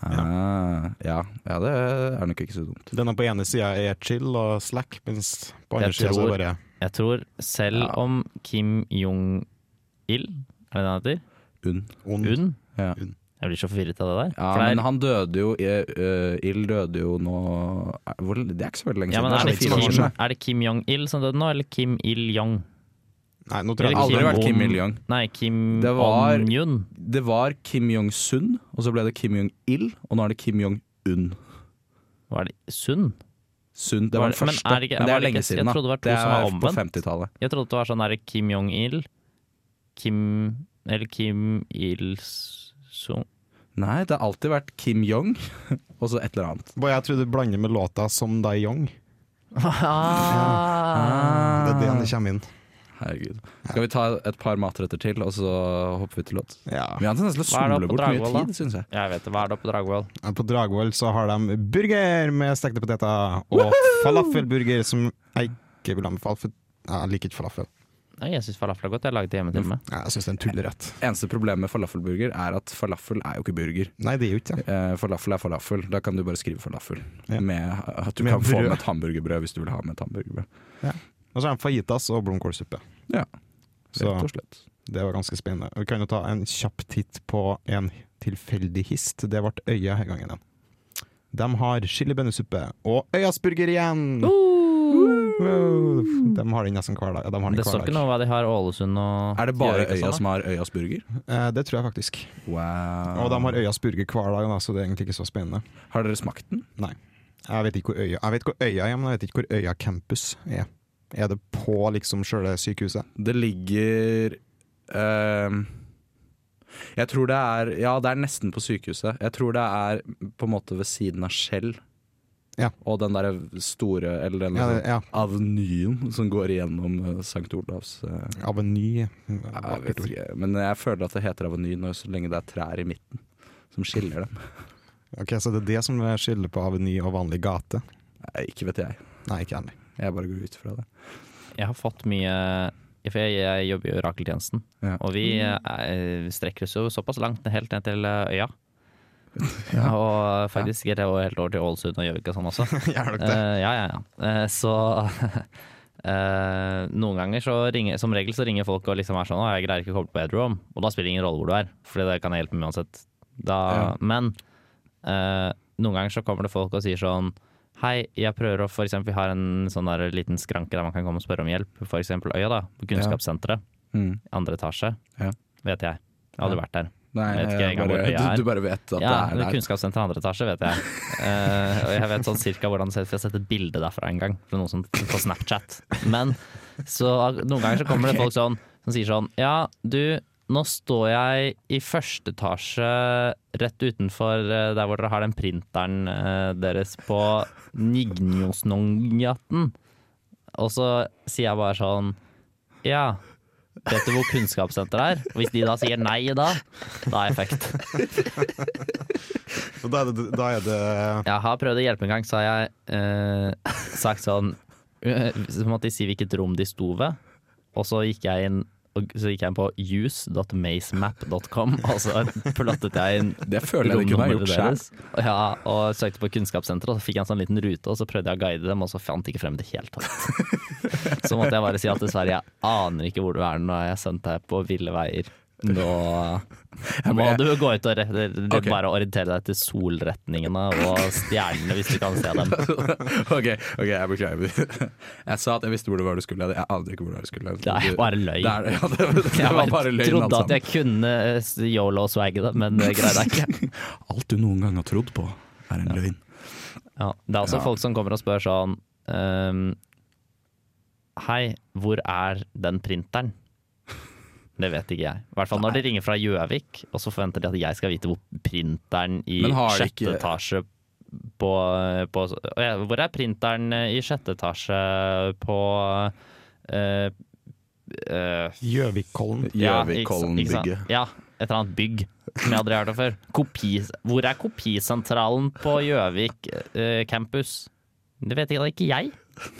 [SPEAKER 2] Ah, ja. ja, det er nok ikke så dumt.
[SPEAKER 6] Denne på ene sida er chill og slack, mens på andre
[SPEAKER 7] Jeg
[SPEAKER 6] sida så er
[SPEAKER 7] tror-
[SPEAKER 6] det bare
[SPEAKER 7] Jeg tror selv
[SPEAKER 2] Ja.
[SPEAKER 7] om Kim Jong-il, er det det han heter?
[SPEAKER 2] Unn.
[SPEAKER 6] ond.
[SPEAKER 7] Un?
[SPEAKER 2] Mm. Ja.
[SPEAKER 7] Jeg blir så forvirret av det der.
[SPEAKER 2] Ja,
[SPEAKER 7] For det er-
[SPEAKER 2] men han døde jo eh, eh, Ild døde jo nå er- hvor, Det er ikke så veldig lenge
[SPEAKER 7] ja,
[SPEAKER 2] siden.
[SPEAKER 7] men er, det
[SPEAKER 2] sånn fire år
[SPEAKER 7] Kim,
[SPEAKER 2] siden.
[SPEAKER 7] er det Kim Jong-il som døde nå, eller Kim Il-jong?
[SPEAKER 6] Nei,
[SPEAKER 2] Det
[SPEAKER 6] nå tror
[SPEAKER 2] har
[SPEAKER 6] jeg
[SPEAKER 2] aldri
[SPEAKER 6] det
[SPEAKER 2] vært Kim
[SPEAKER 7] Jong-
[SPEAKER 2] Il-jong.
[SPEAKER 7] Nei, Kim
[SPEAKER 2] Det var-
[SPEAKER 7] On-jun.
[SPEAKER 2] Det var Kim Jong-sun, og så ble det Kim Jong-il, og nå er det Kim Jong-un.
[SPEAKER 7] Var det Sun?
[SPEAKER 2] Sun, det var den
[SPEAKER 7] Var det- men
[SPEAKER 2] første,
[SPEAKER 7] er det
[SPEAKER 2] men det,
[SPEAKER 7] ikke- var
[SPEAKER 2] er
[SPEAKER 7] det
[SPEAKER 2] lenge
[SPEAKER 7] ikke- jeg
[SPEAKER 2] siden.
[SPEAKER 7] trodde det
[SPEAKER 2] da
[SPEAKER 7] var to
[SPEAKER 2] Det
[SPEAKER 7] som var
[SPEAKER 2] er på
[SPEAKER 7] omvendt.
[SPEAKER 2] 50-tallet.
[SPEAKER 7] Jeg trodde det var sånn der Kim Jong-il, Kim Eller Kim Il-sung
[SPEAKER 2] Nei, det har alltid vært Kim Jong, og så et eller annet.
[SPEAKER 6] Bare jeg tror du blander med låta 'Som Dai Young'. Det er det han kommer inn.
[SPEAKER 2] Herregud. Skal vi ta et par matretter til, og så hopper vi til låt?
[SPEAKER 6] Ja.
[SPEAKER 2] Vi har en tendens til å
[SPEAKER 7] Hva er
[SPEAKER 2] somle
[SPEAKER 7] det oppe på
[SPEAKER 2] bort mye
[SPEAKER 7] Dragvoll, da?
[SPEAKER 2] tid, syns jeg.
[SPEAKER 7] Jeg vet det. Hva er det oppe på Dragvoll?
[SPEAKER 6] På Dragvoll så har de burger med stekte poteter og falafelburger, som jeg ikke vil anbefale, for jeg liker ikke falafel.
[SPEAKER 7] Nei, jeg syns falafel er godt. Jeg lagde det hjemme til og med.
[SPEAKER 6] Jeg syns det er en tullerett.
[SPEAKER 2] Eneste problemet med falafelburger er at falafel er jo ikke burger.
[SPEAKER 6] Nei, det er jo ikke det.
[SPEAKER 2] Eh, falafel er falafel. Da kan du bare skrive falafel.
[SPEAKER 6] Ja.
[SPEAKER 2] Med at du
[SPEAKER 6] Med
[SPEAKER 2] kan få
[SPEAKER 6] brød.
[SPEAKER 2] med et hamburgerbrød hvis du vil ha med et hamburgerbrød.
[SPEAKER 6] Og så har de fajitas og blomkålsuppe.
[SPEAKER 2] Ja,
[SPEAKER 6] Så
[SPEAKER 2] rett og slett.
[SPEAKER 6] det var ganske spennende. Vi kan jo ta en kjapp titt på en tilfeldig hist. Det ble Øya denne gangen. De har chilibønnesuppe og Øyas burger igjen!
[SPEAKER 7] Uh!
[SPEAKER 6] Wow. De har den nesten hver dag. Ja, de har den
[SPEAKER 7] Det
[SPEAKER 6] hver
[SPEAKER 7] står ikke
[SPEAKER 6] dag.
[SPEAKER 7] noe om hva de har Ålesund og
[SPEAKER 2] Er det bare
[SPEAKER 7] Gjøvik og
[SPEAKER 2] Øya
[SPEAKER 7] sånn,
[SPEAKER 2] som har Øyas burger?
[SPEAKER 6] Eh, Det tror jeg faktisk.
[SPEAKER 2] Wow.
[SPEAKER 6] Og de
[SPEAKER 2] Ah.
[SPEAKER 6] har Øyas burger hver dag, da, så det er egentlig ikke så spennende.
[SPEAKER 2] Har dere smakt den?
[SPEAKER 6] Nei. Jeg vet ikke hvor øya, jeg vet hvor øya er, men jeg vet ikke hvor Øya campus er. Er det på liksom sjøle sykehuset?
[SPEAKER 2] Det ligger ehm, Jeg tror det er Ja, det er nesten på sykehuset. Jeg tror det er på en måte ved siden av Skjell.
[SPEAKER 6] Ja.
[SPEAKER 2] Og den der store Eller den
[SPEAKER 6] Ja, det, ja.
[SPEAKER 2] avenyen som går igjennom eh, St. Olavs eh,
[SPEAKER 6] Aveny.
[SPEAKER 2] Jeg vet ikke, men jeg føler at det heter aveny når- så lenge det er trær i midten som skiller dem.
[SPEAKER 6] Ok, Så det er det som skiller på aveny og vanlig gate?
[SPEAKER 2] Nei, ikke vet jeg.
[SPEAKER 6] Nei, ikke heller.
[SPEAKER 2] Jeg bare går ut fra det.
[SPEAKER 7] da? Jeg har fått mye For jeg, jeg jobber i orakeltjenesten,
[SPEAKER 2] Ja.
[SPEAKER 7] og vi eh, strekker oss jo såpass langt helt ned til eh, Øya. Og faktisk er det jo helt over til Ålesund og Gjøvik og sånn også.
[SPEAKER 6] Gjør dere det?
[SPEAKER 7] Eh, ja, ja, ja. Eh, så eh, noen ganger så ringer Som regel så ringer folk og liksom er sånn Å, jeg greier ikke å koble på Edrom. Og da spiller det ingen rolle hvor du er, Fordi det kan jeg hjelpe med uansett. Da, Men eh, noen ganger så kommer det folk og sier sånn Hei, jeg prøver å For eksempel, vi har en sånn der liten skranke der man kan komme og spørre om hjelp. For eksempel Øya, da. På Kunnskapssenteret.
[SPEAKER 2] Mm.
[SPEAKER 7] Andre etasje.
[SPEAKER 2] Ja.
[SPEAKER 7] Vet jeg. Jeg har aldri vært der.
[SPEAKER 2] Nei,
[SPEAKER 7] Jeg vet ikke
[SPEAKER 2] jeg
[SPEAKER 7] engang hvor
[SPEAKER 2] bare,
[SPEAKER 7] øya er.
[SPEAKER 2] du, du bare vet at
[SPEAKER 7] Ja,
[SPEAKER 2] det
[SPEAKER 7] det
[SPEAKER 2] er der.
[SPEAKER 7] kunnskapssenter andre etasje, vet jeg. Eh, og jeg vet sånn cirka hvordan det ser ut, for jeg har sett et bilde derfra en gang, fra noen som på Snapchat. Men så noen ganger så kommer det folk sånn, som sier sånn Ja, du, nå står jeg i første etasje rett utenfor eh, der hvor dere har den printeren eh, deres på Nignjosnongaten. Og så sier jeg bare sånn Ja, Vet du hvor kunnskapssenteret er? Hvis de da sier nei da, da er jeg fucked.
[SPEAKER 6] Og da er det, da er det
[SPEAKER 7] Jeg har prøvd å hjelpe en gang, så har jeg eh, sagt sånn eh, Så måtte de si hvilket rom de sto ved, og så gikk jeg inn og så gikk jeg inn på use.mazemap.com, og så plottet jeg inn
[SPEAKER 2] Det føler jeg du kunne ha gjort
[SPEAKER 7] romnummeret
[SPEAKER 2] sjøl.
[SPEAKER 7] deres. Ja, og søkte på kunnskapssenteret, og så fikk jeg en sånn liten rute, og så prøvde jeg å guide dem, og så fant jeg ikke frem i det hele tatt. Så måtte jeg bare si at dessverre, jeg aner ikke hvor du er nå, jeg har sendt deg på ville veier. Nå må du gå ut og re
[SPEAKER 2] Ok.
[SPEAKER 7] bare orientere deg til solretningene og stjernene hvis du kan se dem.
[SPEAKER 2] ok, ok, jeg beklager. Jeg sa at jeg visste hvor det var du skulle. Jeg aner ikke hvor det var du skulle.
[SPEAKER 7] Det er bare løgn.
[SPEAKER 2] Det, er, ja, det, det,
[SPEAKER 7] Jeg
[SPEAKER 2] var bare løgn, altså. alt
[SPEAKER 7] trodde at
[SPEAKER 2] sammen.
[SPEAKER 7] jeg kunne eh, yolo-swagge det, men det greide jeg ikke.
[SPEAKER 2] Alt du noen gang har trodd på, er en løgn.
[SPEAKER 7] Ja, det er også
[SPEAKER 2] Ja.
[SPEAKER 7] folk som kommer og spør sånn ehm, Hei, hvor er den printeren? Det vet ikke jeg. I hvert fall når de ringer fra Gjøvik, og så forventer de at jeg skal vite hvor printeren i
[SPEAKER 2] Men har de
[SPEAKER 7] sjette
[SPEAKER 2] ikke-
[SPEAKER 7] etasje på, på Å ja, Hvor er printeren i sjette etasje på eh, eh,
[SPEAKER 6] Gjøvikkollen.
[SPEAKER 7] ja, ikke sant- ikke sant?
[SPEAKER 2] Gjøvikkollen-bygget.
[SPEAKER 7] Ja, et eller annet bygg som jeg aldri har hørt om før. Kopi, hvor er kopisentralen på Gjøvik eh, campus? Det vet jeg da ikke jeg.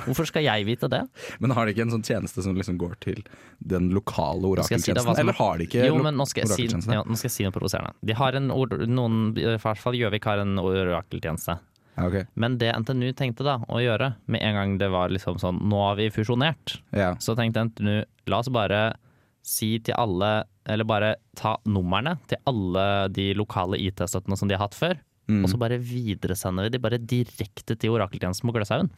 [SPEAKER 7] Hvorfor skal jeg vite det?
[SPEAKER 2] Men har de ikke en sånn tjeneste som liksom går til den lokale
[SPEAKER 7] Nå skal jeg si
[SPEAKER 2] orakeltjenesten?
[SPEAKER 7] deg hva som-
[SPEAKER 2] Eller har de ikke
[SPEAKER 7] Jo,
[SPEAKER 2] lo-
[SPEAKER 7] men nå skal jeg si,
[SPEAKER 2] orakeltjeneste?
[SPEAKER 7] ja, nå skal jeg si noe provoserende. De har en ord, noen, i hvert fall Gjøvik har en orakeltjeneste.
[SPEAKER 2] Ja, ok.
[SPEAKER 7] Men det NTNU tenkte da å gjøre, med en gang det var liksom sånn Nå har vi fusjonert.
[SPEAKER 2] ja.
[SPEAKER 7] Så tenkte jeg nå, la oss bare si til alle, eller bare ta numrene til alle de lokale IT-støttene som de har hatt før, og så bare videresender vi de bare direkte til orakeltjenesten på Gløshaugen.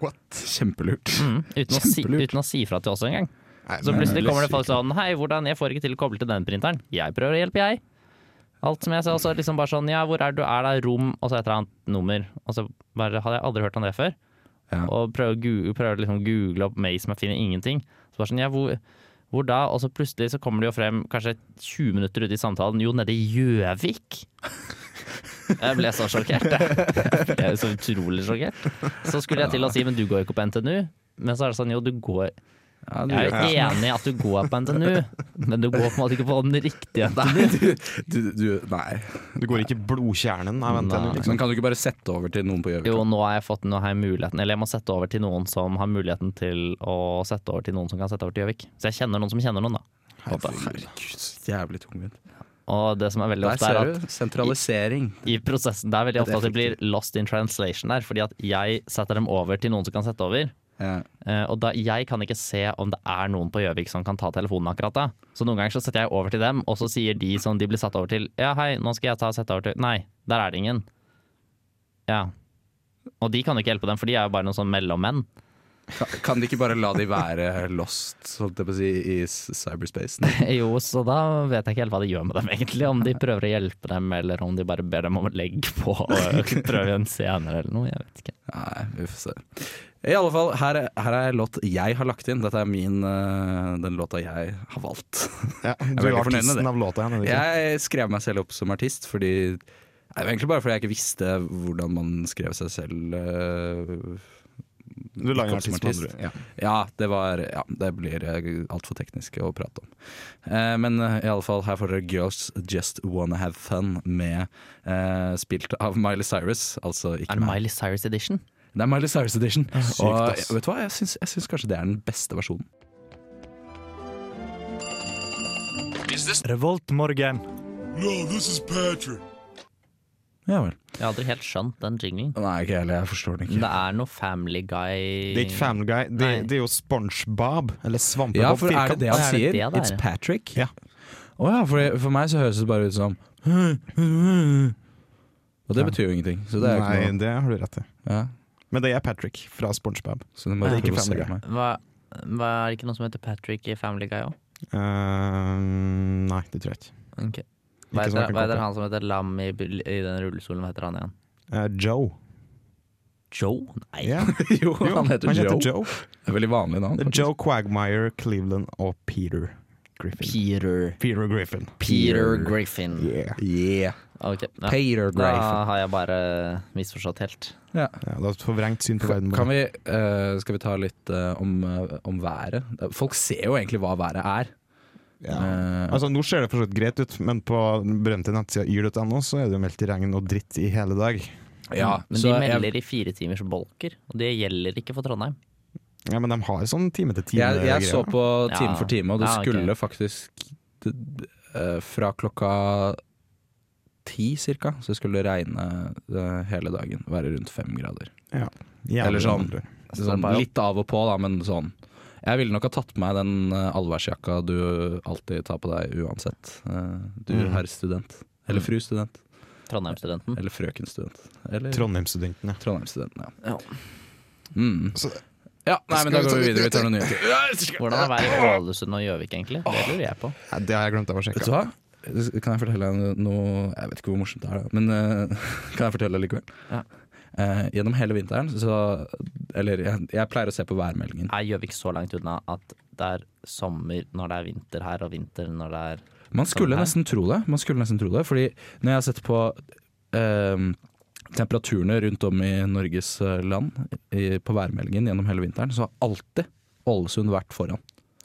[SPEAKER 2] What? Kjempelurt.
[SPEAKER 7] Mm, uten, å si,
[SPEAKER 2] Kjempelurt.
[SPEAKER 7] uten å si fra til oss engang.
[SPEAKER 6] Nei,
[SPEAKER 7] Så
[SPEAKER 6] men-
[SPEAKER 7] plutselig kommer det folk sånn Hei, hvordan, jeg får ikke til å koble til den printeren. Jeg prøver å hjelpe, jeg. Alt som jeg sa, og så liksom bare sånn Ja, hvor er du? Er det rom? Og så et eller annet nummer. Og så bare hadde jeg aldri hørt om det før.
[SPEAKER 2] Ja.
[SPEAKER 7] Og prøver, å gu- prøver å liksom google opp Maze, men finner ingenting. Så bare sånn Ja, hvor, hvor da? Og så plutselig så kommer det jo frem, kanskje 20 minutter ute i samtalen, jo, nede i Gjøvik. Jeg ble så sjokkert. Jeg ble så utrolig sjokkert. Så skulle jeg til å si, men du går jo ikke på NTNU. Men så er det sånn, jo, du går
[SPEAKER 2] Ja, du,
[SPEAKER 7] jeg er jo enig i at du går på NTNU, men du går på en måte ikke på den riktige NTNU.
[SPEAKER 2] du, du, nei.
[SPEAKER 6] Du går ikke blodkjernen av NTNU,
[SPEAKER 7] Nei.
[SPEAKER 6] liksom.
[SPEAKER 2] Men kan du ikke bare sette over til noen på Gjøvik?
[SPEAKER 7] Jo, nå har jeg fått nå har jeg muligheten, eller jeg må sette over til noen som har muligheten til å sette over til noen som kan sette over til Gjøvik. Så jeg kjenner noen som kjenner noen, da.
[SPEAKER 2] Herregud, så jævlig tungvint.
[SPEAKER 7] Og det som er veldig
[SPEAKER 2] Der
[SPEAKER 7] ofte er
[SPEAKER 2] ser
[SPEAKER 7] at
[SPEAKER 2] du. Sentralisering.
[SPEAKER 7] i prosessen, det er veldig
[SPEAKER 2] det er
[SPEAKER 7] ofte at det blir lost in translation der, fordi at jeg setter dem over til noen som kan sette over.
[SPEAKER 2] Ja.
[SPEAKER 7] Eh, Og da, jeg kan ikke se om det er noen på Gjøvik som kan ta telefonen akkurat da. Så noen ganger så setter jeg over til dem, og så sier de som de blir satt over til Ja, hei, nå skal jeg ta og sette over til Nei, der er det ingen. Ja. Og de kan jo ikke hjelpe dem, for de er jo bare noen sånn mellommenn.
[SPEAKER 2] Kan, kan de ikke bare la de være lost, holdt jeg på å si, i s- cyberspace?
[SPEAKER 7] Jo, så da vet jeg ikke helt hva de gjør med dem, egentlig. Om de prøver å hjelpe dem, eller om de bare ber dem om å legge på og prøve igjen senere, eller noe. Jeg vet ikke.
[SPEAKER 2] Nei, vi får se. I alle fall, her, er- her er en låt jeg har lagt inn. Dette er min, eh, den låta jeg har valgt.
[SPEAKER 6] Ja,
[SPEAKER 2] er
[SPEAKER 6] du
[SPEAKER 2] veldig
[SPEAKER 6] er
[SPEAKER 2] fornøyd med det.
[SPEAKER 6] artisten av låta igjen, er du ikke?
[SPEAKER 2] Jeg skrev meg selv opp som artist fordi Nei, det var Egentlig bare fordi jeg ikke visste hvordan man skrev seg selv eh,
[SPEAKER 6] Du lager en
[SPEAKER 2] opp som
[SPEAKER 6] artist, med andre ord, ja.
[SPEAKER 2] Ja, det var Ja, det blir altfor teknisk å prate om. Eh, men eh, i alle fall, her får dere Girls Just Wanna Have Fun med eh, Spilt av Miley Cyrus, altså ikke
[SPEAKER 7] Er det
[SPEAKER 2] meg.
[SPEAKER 7] Miley Cyrus Edition?
[SPEAKER 2] Det er Miley Cyrus Edition.
[SPEAKER 6] Sykt,
[SPEAKER 2] Og
[SPEAKER 6] ass.
[SPEAKER 2] vet du hva, jeg syns, jeg syns kanskje det er den beste versjonen.
[SPEAKER 1] Revoltmorgen.
[SPEAKER 2] Ja vel.
[SPEAKER 7] Jeg har aldri helt skjønt den jinglen.
[SPEAKER 2] Nei, ikke jeg heller. Jeg forstår den ikke.
[SPEAKER 7] Men det er noe Family Guy
[SPEAKER 6] Det er ikke Family Guy, det,
[SPEAKER 7] Nei.
[SPEAKER 6] det er jo SpongeBob. Eller Svampebob.
[SPEAKER 2] Ja, for er det
[SPEAKER 6] firkant.
[SPEAKER 2] det han
[SPEAKER 7] Er det
[SPEAKER 2] sier?
[SPEAKER 7] det det er?
[SPEAKER 2] It's Patrick?
[SPEAKER 6] Ja.
[SPEAKER 2] Å ja, for, for meg så høres det bare ut som Og det betyr jo ingenting. Så det er jo ikke
[SPEAKER 6] Nei,
[SPEAKER 2] noe
[SPEAKER 6] det har du rett i.
[SPEAKER 2] ja,
[SPEAKER 6] Men det er Patrick fra SpongeBob.
[SPEAKER 2] Så det må
[SPEAKER 6] Det er ikke
[SPEAKER 2] provosere
[SPEAKER 6] Family Guy.
[SPEAKER 2] meg.
[SPEAKER 7] Hva, hva Er det ikke noe som heter Patrick i Family Guy òg?
[SPEAKER 6] Eh, nei, det tror jeg ikke.
[SPEAKER 7] Hva
[SPEAKER 6] Ikke som jeg kan
[SPEAKER 7] heter, hva heter
[SPEAKER 6] komme
[SPEAKER 7] han som heter Lam i, bil- i den rullestolen? Hva heter han igjen?
[SPEAKER 6] Eh, Joe.
[SPEAKER 7] Joe? Nei.
[SPEAKER 6] Ja.
[SPEAKER 2] Jo,
[SPEAKER 6] Jo,
[SPEAKER 2] han heter Joe.
[SPEAKER 6] Joe.
[SPEAKER 2] Det er veldig vanlig navn.
[SPEAKER 6] Det er Joe Quagmire, Cleveland og Peter. Griffin.
[SPEAKER 7] Peter
[SPEAKER 6] Peter Griffin.
[SPEAKER 7] Peter Griffin.
[SPEAKER 6] Yeah.
[SPEAKER 7] Ok, ja.
[SPEAKER 6] Peter
[SPEAKER 7] Da
[SPEAKER 6] Griffin.
[SPEAKER 7] har jeg bare misforstått helt.
[SPEAKER 6] Ja, det er et forvrengt syn på verden.
[SPEAKER 2] Kan vi, eh, skal vi ta litt eh, om, eh, om været? Folk ser jo egentlig hva været er.
[SPEAKER 6] Ja.
[SPEAKER 2] Eh,
[SPEAKER 6] Altså, nå ser det for så vidt greit ut, men på den berømte nettsida yr.no så er det jo meldt i regn og dritt i hele dag.
[SPEAKER 2] ja,
[SPEAKER 7] Men
[SPEAKER 2] så
[SPEAKER 7] de
[SPEAKER 2] jeg-
[SPEAKER 7] melder i fire timers bolker, og det gjelder ikke for Trondheim.
[SPEAKER 6] Ja, Men de har sånn time til time.
[SPEAKER 2] Jeg, jeg så
[SPEAKER 6] greier.
[SPEAKER 2] på Time
[SPEAKER 7] Ja.
[SPEAKER 2] for time, og det
[SPEAKER 7] Ja, ok.
[SPEAKER 2] skulle faktisk d- d- eh, Fra klokka ti cirka, så skulle det regne eh, hele dagen. Være rundt fem grader.
[SPEAKER 6] Jævlig
[SPEAKER 2] eller sånn.
[SPEAKER 6] bra.
[SPEAKER 2] Sånn,
[SPEAKER 7] bare opp.
[SPEAKER 2] litt av og på, da, men sånn. Jeg ville nok ha tatt på meg den eh, allværsjakka du alltid tar på deg uansett. Eh, Du
[SPEAKER 6] Mhm.
[SPEAKER 2] herr student.
[SPEAKER 6] Mm.
[SPEAKER 2] Eller fru student.
[SPEAKER 7] Trondheim-studenten.
[SPEAKER 2] Eller frøken student. Eller
[SPEAKER 6] Trondheimsstudentene.
[SPEAKER 2] Trondheim-studenten, ja.
[SPEAKER 7] Ja.
[SPEAKER 2] Mm.
[SPEAKER 6] Så-
[SPEAKER 2] ja, nei, men da går vi videre. Vi tar noen nyheter.
[SPEAKER 7] Hvordan er været i Ålesund og Gjøvik, egentlig? Det lurer jeg på.
[SPEAKER 6] Ja, det har jeg glemt av å
[SPEAKER 2] Vet du
[SPEAKER 6] sjekke.
[SPEAKER 2] hva? Kan jeg fortelle deg noe Jeg vet ikke hvor morsomt det er, da, men eh, kan jeg fortelle det likevel?
[SPEAKER 7] Ja.
[SPEAKER 2] Eh, gjennom hele vinteren så Eller jeg, jeg pleier å se på værmeldingen.
[SPEAKER 7] Er Gjøvik så langt unna at det er sommer når det er vinter her, og vinter når det er
[SPEAKER 2] Man skulle nesten
[SPEAKER 7] Sånn her.
[SPEAKER 2] tro det. Man skulle nesten tro det Fordi når jeg har sett på ehm, temperaturene rundt om i Norges eh, land i, på værmeldingen gjennom hele vinteren, så har alltid Ålesund vært foran.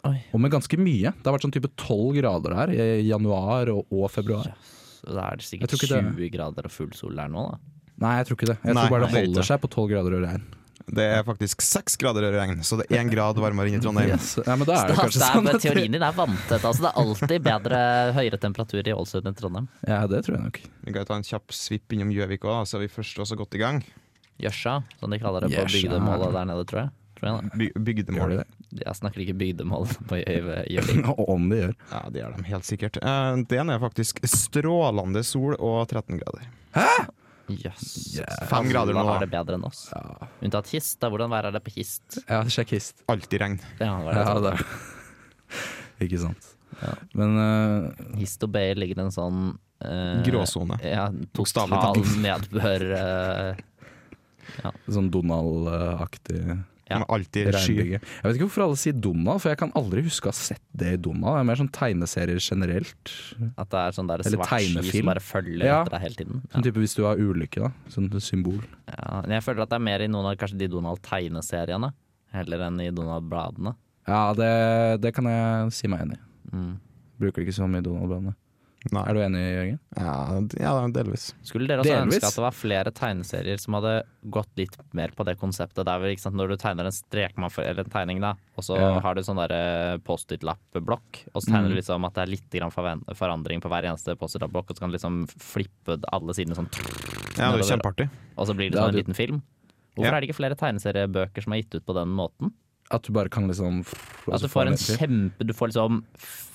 [SPEAKER 7] Oi.
[SPEAKER 2] Og med ganske mye. Det har vært sånn type tolv grader her i januar og, og februar.
[SPEAKER 7] Så Da er det
[SPEAKER 2] Jeg
[SPEAKER 7] sikkert
[SPEAKER 2] tror ikke
[SPEAKER 7] 20
[SPEAKER 2] det-
[SPEAKER 7] grader og full sol der nå, da.
[SPEAKER 2] Nei, jeg tror ikke det. Jeg
[SPEAKER 6] Nei,
[SPEAKER 2] tror bare det
[SPEAKER 6] det er
[SPEAKER 2] holder
[SPEAKER 6] ikke.
[SPEAKER 2] seg på tolv grader og regn.
[SPEAKER 6] Det er faktisk seks grader og regn, så det er én grad varmere inne i Trondheim.
[SPEAKER 2] Yes. Nei, men da er det
[SPEAKER 7] Altså,
[SPEAKER 2] kanskje
[SPEAKER 7] det er,
[SPEAKER 2] sånn.
[SPEAKER 7] men
[SPEAKER 2] At det,
[SPEAKER 7] teorien din er vanntett. Altså, det er alltid bedre høyere temperatur i Ålesund enn Trondheim.
[SPEAKER 2] ja, det tror jeg nok.
[SPEAKER 6] Vi kan jo ta en kjapp svipp innom Gjøvik òg, så er vi først også godt i gang.
[SPEAKER 7] Gjørsja, som de kaller det på
[SPEAKER 2] Gjørsja.
[SPEAKER 7] bygdemålet der nede, tror jeg. Tror jeg da.
[SPEAKER 6] By
[SPEAKER 2] Gjør
[SPEAKER 6] bygdemål.
[SPEAKER 2] de det?
[SPEAKER 7] Jeg snakker ikke bygdemål på Gjø- Gjøvik.
[SPEAKER 2] Og om de gjør.
[SPEAKER 6] Ja, det gjør de helt sikkert. Eh, Den er faktisk strålende sol og 13 grader.
[SPEAKER 7] Jøss.
[SPEAKER 2] Yeah.
[SPEAKER 6] Fem grader nå,
[SPEAKER 7] Da
[SPEAKER 6] da.
[SPEAKER 7] er det bedre enn oss.
[SPEAKER 2] Ja.
[SPEAKER 7] Unntatt Hist. da. Hvordan vær er det på Hist?
[SPEAKER 2] Ja, sjekk hist.
[SPEAKER 6] Alltid regn.
[SPEAKER 7] Ja, hva er det? sånn?
[SPEAKER 2] Ja, det er Ikke sant. Men eh,
[SPEAKER 7] Hist og Bay ligger en sånn eh,
[SPEAKER 6] Gråsone.
[SPEAKER 7] Ja,
[SPEAKER 6] Bokstavelig
[SPEAKER 7] total nedbør. eh,
[SPEAKER 2] sånn Donald-aktig
[SPEAKER 7] Ja.
[SPEAKER 6] Men alltid sky.
[SPEAKER 2] regnbygge. Jeg vet ikke hvorfor alle sier Donald, for jeg kan aldri huske å ha sett det i Donald. Det er mer sånn tegneserier generelt.
[SPEAKER 7] at det er sånn der
[SPEAKER 2] Eller
[SPEAKER 7] svart sky
[SPEAKER 2] tegnefilm.
[SPEAKER 7] som bare følger
[SPEAKER 2] Ja.
[SPEAKER 7] etter deg hele tiden. Ja.
[SPEAKER 2] Sånn type hvis du har ulykke, da. Sånn symbol.
[SPEAKER 7] Ja, men jeg føler at det er mer i noen av kanskje de Donald-tegneseriene heller enn i Donald-bladene.
[SPEAKER 2] Ja, det, det kan jeg si meg enig i.
[SPEAKER 7] Mm.
[SPEAKER 2] Bruker ikke så mye Donald-bladene.
[SPEAKER 6] Nei.
[SPEAKER 2] Er du enig, Jørgen?
[SPEAKER 6] Ja, d- ja, delvis.
[SPEAKER 7] Skulle dere også
[SPEAKER 2] Delvis.
[SPEAKER 7] ønske at det var flere tegneserier som hadde gått litt mer på det konseptet? Det er vel, ikke sant, når du tegner en strekmann for, eller en tegning, da, og så
[SPEAKER 2] Ja.
[SPEAKER 7] har du sånn derre Post-It-lapp-blokk, og så
[SPEAKER 6] Mm.
[SPEAKER 7] tegner du liksom at det er litt grann forven- forandring på hver eneste Post-It-lapp-blokk, og så kan du liksom flippe alle sidene sånn,
[SPEAKER 6] Ja, det er jo kjempeartig.
[SPEAKER 7] og så blir det
[SPEAKER 2] Ja,
[SPEAKER 7] sånn en
[SPEAKER 2] du-
[SPEAKER 7] liten film. Hvorfor
[SPEAKER 6] Ja.
[SPEAKER 7] er det ikke flere tegneseriebøker som er gitt ut på den måten?
[SPEAKER 2] At du bare kan liksom
[SPEAKER 7] At Altså, du får en kjempe Du får liksom f-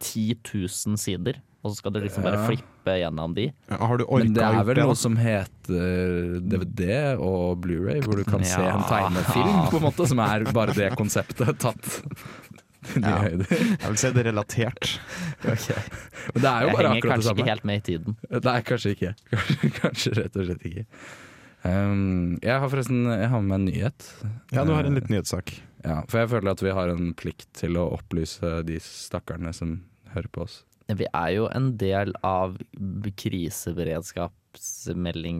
[SPEAKER 7] 10 000 sider, og så skal du liksom bare
[SPEAKER 2] Ja.
[SPEAKER 7] flippe gjennom de.
[SPEAKER 6] Ja, Har du
[SPEAKER 2] Men
[SPEAKER 6] orka
[SPEAKER 2] det
[SPEAKER 6] å
[SPEAKER 2] er
[SPEAKER 6] gjøre
[SPEAKER 2] vel
[SPEAKER 6] det?
[SPEAKER 2] noe
[SPEAKER 6] da?
[SPEAKER 2] som heter DVD og Blu-ray, hvor du kan se
[SPEAKER 7] Ja.
[SPEAKER 2] en tegnefilm, på en måte, som er bare det konseptet tatt til nye
[SPEAKER 6] Ja.
[SPEAKER 2] høyder.
[SPEAKER 6] Jeg vil si det er relatert.
[SPEAKER 2] Men det er jo bare
[SPEAKER 7] Jeg henger
[SPEAKER 2] akkurat det
[SPEAKER 7] kanskje ikke
[SPEAKER 2] samme.
[SPEAKER 7] helt med i tiden.
[SPEAKER 2] Eh, Nei, kanskje ikke. Kanskje, kanskje rett og slett ikke. Ehm, jeg har forresten jeg har med meg en nyhet.
[SPEAKER 6] Ja, du har en liten nyhetssak.
[SPEAKER 2] Ja, for jeg føler at vi har en plikt til å opplyse de stakkarene som hører på oss.
[SPEAKER 7] Vi er jo en del av b-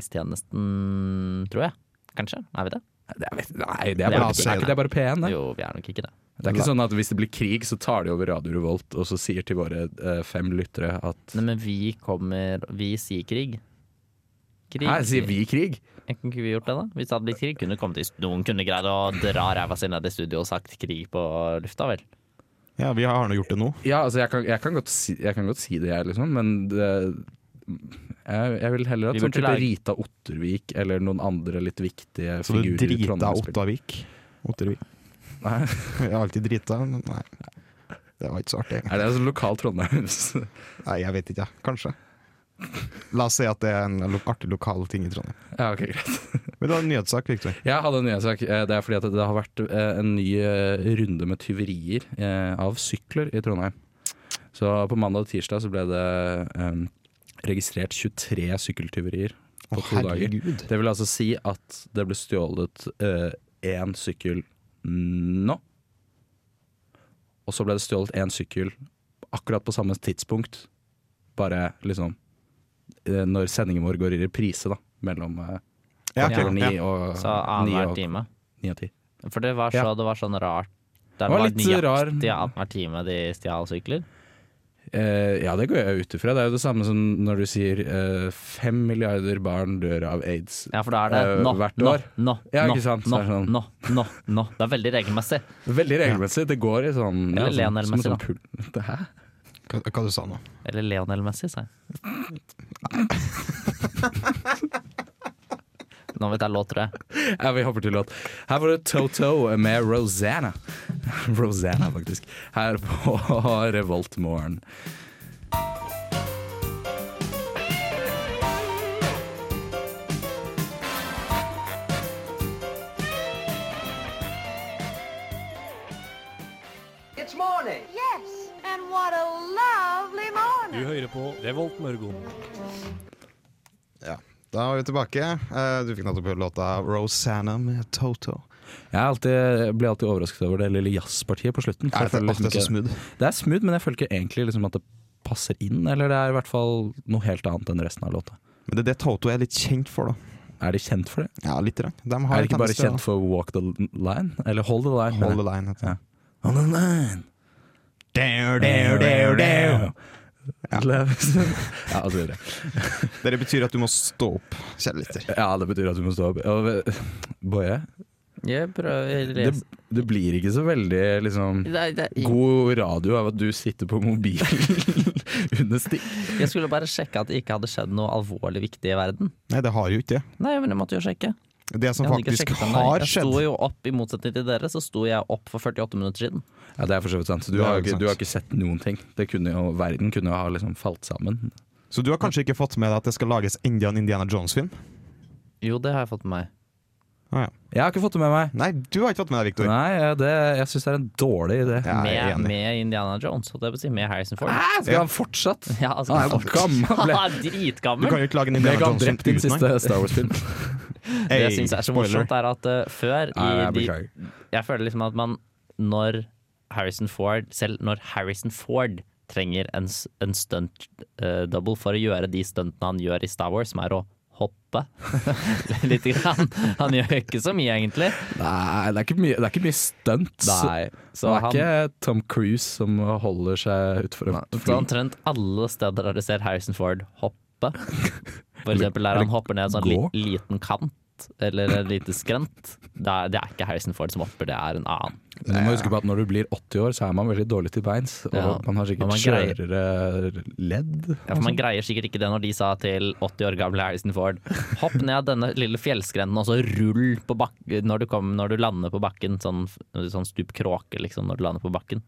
[SPEAKER 7] kriseberedskapsmeldingstjenesten, tror jeg. Kanskje? Er vi det?
[SPEAKER 2] Det er, vet- nei, det er
[SPEAKER 7] Ja,
[SPEAKER 2] bare,
[SPEAKER 6] si
[SPEAKER 2] det er ikke det er bare P1, det.
[SPEAKER 7] Jo, vi er nok ikke det.
[SPEAKER 2] Det er ikke sånn at hvis det blir krig, så tar de over Radio Revolt og så sier til våre eh, fem lyttere at
[SPEAKER 7] Nei, men vi kommer Vi sier krig. Krig.
[SPEAKER 2] Hæ, sier vi krig?
[SPEAKER 7] Kunne ikke vi gjort det, da? Hvis det hadde blitt krig, kunne det kommet i- noen kunne greid å dra ræva si ned i studio og sagt krig på lufta, vel?
[SPEAKER 6] Ja, vi har nå gjort det nå.
[SPEAKER 2] Ja, altså, jeg kan, jeg kan, godt, si, jeg kan godt si det, jeg, liksom, men det jeg, jeg vil heller
[SPEAKER 7] Vi
[SPEAKER 2] at sånn
[SPEAKER 7] burde
[SPEAKER 2] type
[SPEAKER 7] lage-
[SPEAKER 2] Rita Ottervik eller noen andre litt viktige
[SPEAKER 6] Så du
[SPEAKER 2] figurer i
[SPEAKER 6] drita
[SPEAKER 2] Trondheim-spill.
[SPEAKER 6] Ottavik. Ottervik.
[SPEAKER 2] Nei.
[SPEAKER 6] Jeg har alltid drita, men nei. Det var ikke så artig.
[SPEAKER 2] Er det altså lokal Trondheims
[SPEAKER 6] Nei, jeg vet ikke. jeg. Kanskje. La oss si at det er en lo artig lokal ting i Trondheim.
[SPEAKER 2] Ja, ok, greit.
[SPEAKER 6] Men du har en nyhetssak, Victor.
[SPEAKER 2] Jeg hadde en nyhetssak. Eh, Det er fordi at det har vært eh, en ny eh, runde med tyverier eh, av sykler i Trondheim. Så på mandag og tirsdag så ble det eh, registrert 23 sykkeltyverier på to dager. Det vil altså si at det ble stjålet eh, én sykkel nå. Og så ble det stjålet én sykkel akkurat på samme tidspunkt. Bare liksom eh, når sendingen vår går i reprise, da. Mellom eh,
[SPEAKER 6] Ja,
[SPEAKER 2] kvart over
[SPEAKER 6] ok,
[SPEAKER 2] ni
[SPEAKER 6] ja.
[SPEAKER 2] og
[SPEAKER 7] Så
[SPEAKER 2] ni
[SPEAKER 7] annenhver
[SPEAKER 2] og-
[SPEAKER 7] time.
[SPEAKER 2] ni og ti.
[SPEAKER 7] For det var, så,
[SPEAKER 2] Ja.
[SPEAKER 7] det var sånn rart.
[SPEAKER 2] Det var litt rar-
[SPEAKER 7] nøyaktig annenhver time de stjal sykler.
[SPEAKER 2] Eh, ja, det går jeg ut ifra. Det er jo det samme som når du sier eh, fem milliarder barn dør av aids.
[SPEAKER 7] Ja, for da er det
[SPEAKER 2] Eh,
[SPEAKER 7] nå,
[SPEAKER 2] hvert
[SPEAKER 7] nå,
[SPEAKER 2] år.
[SPEAKER 7] nå,
[SPEAKER 2] Ja,
[SPEAKER 7] nå,
[SPEAKER 2] ikke sant? Så
[SPEAKER 7] nå,
[SPEAKER 2] er det sånn-
[SPEAKER 7] nå, nå, nå. Det er veldig regelmessig.
[SPEAKER 2] Veldig regelmessig. Det går i sånn ja,
[SPEAKER 7] Eller
[SPEAKER 2] sånn, som en
[SPEAKER 7] Lionel-messig,
[SPEAKER 2] sånn pul- Hæ?
[SPEAKER 6] Hva, hva du sa nå?
[SPEAKER 7] Eller Leonel-messig, sa jeg. Nå vet jeg låt, tror jeg.
[SPEAKER 2] Ja, vi hopper til låt. Her var det Toto med Rosanna. Rosanna, faktisk. Her på Revolt Morgen.
[SPEAKER 3] It's morning.
[SPEAKER 4] Yes, and what a lovely
[SPEAKER 5] Du
[SPEAKER 4] morning.
[SPEAKER 5] hører på Revolt Mørgon.
[SPEAKER 6] Ja. Da er vi tilbake. Eh, Du fikk nettopp høre låta 'Rosanna' med Toto.
[SPEAKER 2] Jeg er alltid, blir alltid overrasket over det lille jazzpartiet på slutten. så
[SPEAKER 6] Er
[SPEAKER 2] jeg føler
[SPEAKER 6] det, alt
[SPEAKER 2] liksom
[SPEAKER 6] er så
[SPEAKER 2] ikke-
[SPEAKER 6] smooth.
[SPEAKER 2] Det er smooth, men jeg føler ikke egentlig liksom at det passer inn. Eller det er i hvert fall noe helt annet enn resten av låta.
[SPEAKER 6] Men det er det Toto er litt kjent for, da.
[SPEAKER 2] Er de kjent for det?
[SPEAKER 6] Ja, litt. grann. De har
[SPEAKER 2] Er de ikke bare
[SPEAKER 6] tendens til å-
[SPEAKER 2] kjent for Walk the Line? Eller Hold the Line?
[SPEAKER 6] Hold
[SPEAKER 2] mener
[SPEAKER 6] the
[SPEAKER 2] jeg.
[SPEAKER 6] line. Heter. det.
[SPEAKER 2] Ja. On the line. Love is- Ja, og så videre.
[SPEAKER 6] Dere betyr at du må stå opp, kjære lytter.
[SPEAKER 2] Ja, det betyr at du må stå opp. Og, eh, Boje,
[SPEAKER 7] Jeg prøver
[SPEAKER 2] det, det blir ikke så veldig liksom God radio av at du sitter på mobilen under stikk.
[SPEAKER 7] Jeg skulle bare sjekke at det ikke hadde skjedd noe alvorlig viktig i verden.
[SPEAKER 6] Nei, det har jo ikke det.
[SPEAKER 7] Nei, men jeg måtte jo sjekke.
[SPEAKER 6] Det som
[SPEAKER 7] Jeg hadde ikke
[SPEAKER 6] faktisk
[SPEAKER 7] sjekket den der.
[SPEAKER 6] har
[SPEAKER 7] Jeg sto
[SPEAKER 6] skjedd
[SPEAKER 7] jo opp, i motsetning til dere, så sto jeg opp for 48 minutter siden.
[SPEAKER 2] Ja, Det er for så vidt sant. Du
[SPEAKER 6] Det er
[SPEAKER 2] har,
[SPEAKER 6] jo
[SPEAKER 2] jo ikke,
[SPEAKER 6] sant.
[SPEAKER 2] du har ikke sett noen ting. Det kunne jo, verden kunne jo ha liksom falt sammen.
[SPEAKER 6] Så du har kanskje ikke fått med deg at det skal lages enda en Indiana Jones-film?
[SPEAKER 7] Jo, det har jeg fått med meg.
[SPEAKER 6] Ah, ja.
[SPEAKER 2] Jeg har ikke fått det med meg.
[SPEAKER 6] Nei, du har ikke fått med deg, Victor.
[SPEAKER 2] Nei, eh, det, jeg syns det er en dårlig idé.
[SPEAKER 6] Ja, jeg er
[SPEAKER 7] Med,
[SPEAKER 6] enig.
[SPEAKER 7] med Indiana Jones, holdt jeg på å si. Med Harrison Ford.
[SPEAKER 2] Hæ, skal han fortsatt?
[SPEAKER 7] Ja, altså,
[SPEAKER 2] Han er jo gammel.
[SPEAKER 7] Haha,
[SPEAKER 6] Du
[SPEAKER 7] Dritgammel!
[SPEAKER 6] kan jo ikke lage en
[SPEAKER 2] Ble
[SPEAKER 6] Indiana
[SPEAKER 2] ikke han
[SPEAKER 6] Jones-film
[SPEAKER 2] drept i den
[SPEAKER 6] uten
[SPEAKER 2] siste Star Wars-filmen?
[SPEAKER 7] Det
[SPEAKER 6] Hey,
[SPEAKER 7] jeg syns er så
[SPEAKER 6] spoiler.
[SPEAKER 7] morsomt, er at eh, før i
[SPEAKER 2] Nei, jeg
[SPEAKER 7] de,
[SPEAKER 2] beklager.
[SPEAKER 7] Jeg føler liksom at man Når Harrison Ford Selv når Harrison Ford trenger en, s- en stunt eh, double for å gjøre de stuntene han gjør i Star Wars, som er å hoppe litt. Grann. Han gjør jo ikke så mye, egentlig.
[SPEAKER 2] Nei, det er ikke mye, det er ikke mye stunts.
[SPEAKER 7] Så han,
[SPEAKER 2] det er ikke Tom Cruise som holder seg utfor et
[SPEAKER 7] så
[SPEAKER 2] fly.
[SPEAKER 7] omtrent alle steder har du ser Harrison Ford hoppe. For eksempel der han hopper ned en sånn li,
[SPEAKER 2] gå.
[SPEAKER 7] liten kant, eller en liten skrent. Det er, det er ikke Harrison Ford som hopper, det er en annen.
[SPEAKER 2] Men du må huske på at når du blir 80 år, så er man veldig dårlig til beins. Og
[SPEAKER 7] Ja,
[SPEAKER 2] man har sikkert
[SPEAKER 7] og man greier-
[SPEAKER 2] skjørere ledd.
[SPEAKER 7] Ja, for Man greier sikkert ikke det når de sa til 80 år gamle Harrison Ford Hopp ned denne lille fjellskrenten og så rull på bak når, du kom, når du lander på bakken. Sånn, sånn stup kråke, liksom, når du lander på bakken.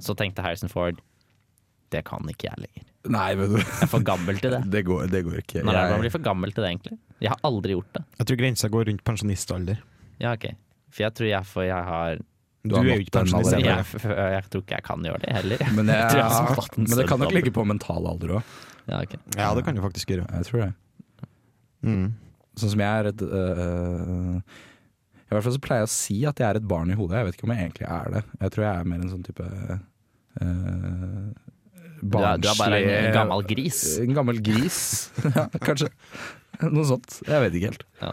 [SPEAKER 7] Så tenkte Harrison Ford det kan ikke jeg lenger.
[SPEAKER 2] Nei, vet
[SPEAKER 7] Jeg er
[SPEAKER 2] du.
[SPEAKER 7] for gammel til det.
[SPEAKER 2] Det går, det går ikke.
[SPEAKER 7] Når er det man
[SPEAKER 2] Jeg,
[SPEAKER 7] blir for gammel til det, egentlig? Jeg har aldri gjort det.
[SPEAKER 6] Jeg tror grensa går rundt pensjonistalder.
[SPEAKER 7] Ja, ok. For jeg tror jeg, for jeg har
[SPEAKER 6] Du,
[SPEAKER 2] har
[SPEAKER 6] er
[SPEAKER 2] nådd
[SPEAKER 6] jo ikke
[SPEAKER 2] den
[SPEAKER 6] pensjonist.
[SPEAKER 2] allerede.
[SPEAKER 7] jeg,
[SPEAKER 6] ennå.
[SPEAKER 7] jeg, tror ikke jeg kan gjøre det heller.
[SPEAKER 2] men, det,
[SPEAKER 7] Jeg tror jeg har fått en
[SPEAKER 2] men det kan nok
[SPEAKER 7] sølvdalder.
[SPEAKER 2] ligge på mental alder òg.
[SPEAKER 7] Ja, ok.
[SPEAKER 6] Ja, det kan du faktisk gjøre.
[SPEAKER 2] Jeg tror det.
[SPEAKER 6] Mm.
[SPEAKER 2] Sånn som jeg er et øh, I hvert fall så pleier jeg å si at jeg er et barn i hodet. Jeg vet ikke om jeg egentlig er det. Jeg tror jeg er mer en sånn type øh,
[SPEAKER 7] Du, er, du er bare
[SPEAKER 2] eh,
[SPEAKER 7] en gammel gris.
[SPEAKER 2] En gammel gris, ja, kanskje. Noe sånt. Jeg vet ikke helt.
[SPEAKER 7] Ja.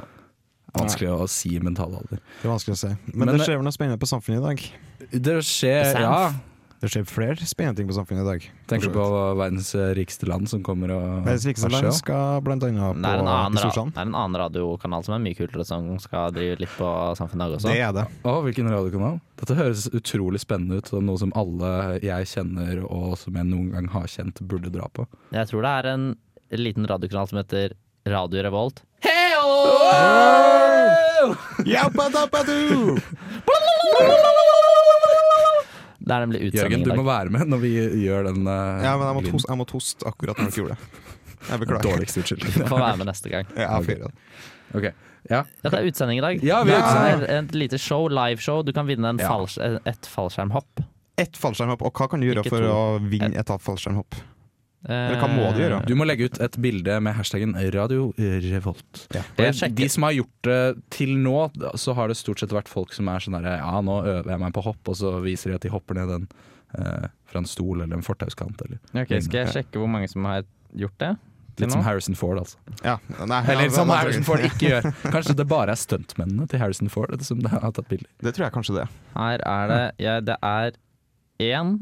[SPEAKER 2] Vanskelig å si mental alder.
[SPEAKER 6] Det er vanskelig å si. Men,
[SPEAKER 2] Men-
[SPEAKER 6] det skjer vel noe spennende på samfunnet i dag.
[SPEAKER 2] Det skjer,
[SPEAKER 7] Sand.
[SPEAKER 2] ja.
[SPEAKER 6] Det skjer flere spennende ting på samfunnet i dag.
[SPEAKER 2] Tenker du på verdens rikeste land som kommer og
[SPEAKER 6] Verdens rikeste land
[SPEAKER 2] Asia?
[SPEAKER 6] skal blant annet
[SPEAKER 7] Det
[SPEAKER 6] på
[SPEAKER 7] er, en annen,
[SPEAKER 6] i
[SPEAKER 7] ra-
[SPEAKER 6] Storsand.
[SPEAKER 7] det er en annen radiokanal som er mye kulere, som skal drive litt på Samfunnet Dag
[SPEAKER 2] Altså.
[SPEAKER 7] også.
[SPEAKER 6] Det er det.
[SPEAKER 2] Å, hvilken radiokanal? Dette høres utrolig spennende ut, og noe som alle jeg kjenner og som jeg noen gang har kjent, burde dra på.
[SPEAKER 7] Jeg tror det er en liten radiokanal som heter Radio Revolt.
[SPEAKER 6] Jappadapadu!
[SPEAKER 7] Det er nemlig
[SPEAKER 2] Jørgen,
[SPEAKER 7] utsending
[SPEAKER 2] du
[SPEAKER 7] i
[SPEAKER 2] må
[SPEAKER 7] dag.
[SPEAKER 2] være med når vi gjør den eh,
[SPEAKER 6] Ja, men jeg måtte
[SPEAKER 2] lyden.
[SPEAKER 6] hoste, jeg måtte hoste akkurat når dere gjorde det. Jeg beklager.
[SPEAKER 2] Dårligst unnskyld.
[SPEAKER 7] Du får være med neste gang.
[SPEAKER 6] Ja, jeg får gjøre det.
[SPEAKER 2] Ok. Ja.
[SPEAKER 7] Ja, det er utsending i dag.
[SPEAKER 2] Ja, vi er utsending.
[SPEAKER 7] Det er Et lite show, liveshow. Du kan vinne en
[SPEAKER 2] Ja.
[SPEAKER 7] falls, et fallskjermhopp.
[SPEAKER 6] Ett fallskjermhopp, og hva kan du gjøre
[SPEAKER 7] Ikke
[SPEAKER 6] for
[SPEAKER 7] to.
[SPEAKER 6] å vinne et halvt fallskjermhopp? Eller hva må du gjøre?
[SPEAKER 2] Eh, Du må legge ut et bilde med hashtaggen Radio Revolt.
[SPEAKER 7] Eh, Jeg
[SPEAKER 2] For
[SPEAKER 7] sjekker.
[SPEAKER 2] De som har gjort det til nå, så har det stort sett vært folk som er sånn derre Ja, nå øver jeg meg på hopp, og så viser de at de hopper ned en eh, fra en stol eller en fortauskant. Eller.
[SPEAKER 9] Ok, Skal jeg sjekke hvor mange som har gjort det? Til
[SPEAKER 2] Litt som
[SPEAKER 9] nå?
[SPEAKER 2] Harrison Ford, altså.
[SPEAKER 6] Ja, nei,
[SPEAKER 2] Eller sånn
[SPEAKER 6] ja,
[SPEAKER 2] som
[SPEAKER 6] det-
[SPEAKER 2] Harrison Ford ikke gjør. Kanskje det bare er stuntmennene til Harrison Ford som det har tatt bilder.
[SPEAKER 6] Det tror jeg kanskje det.
[SPEAKER 9] Her er det ja, Det er én,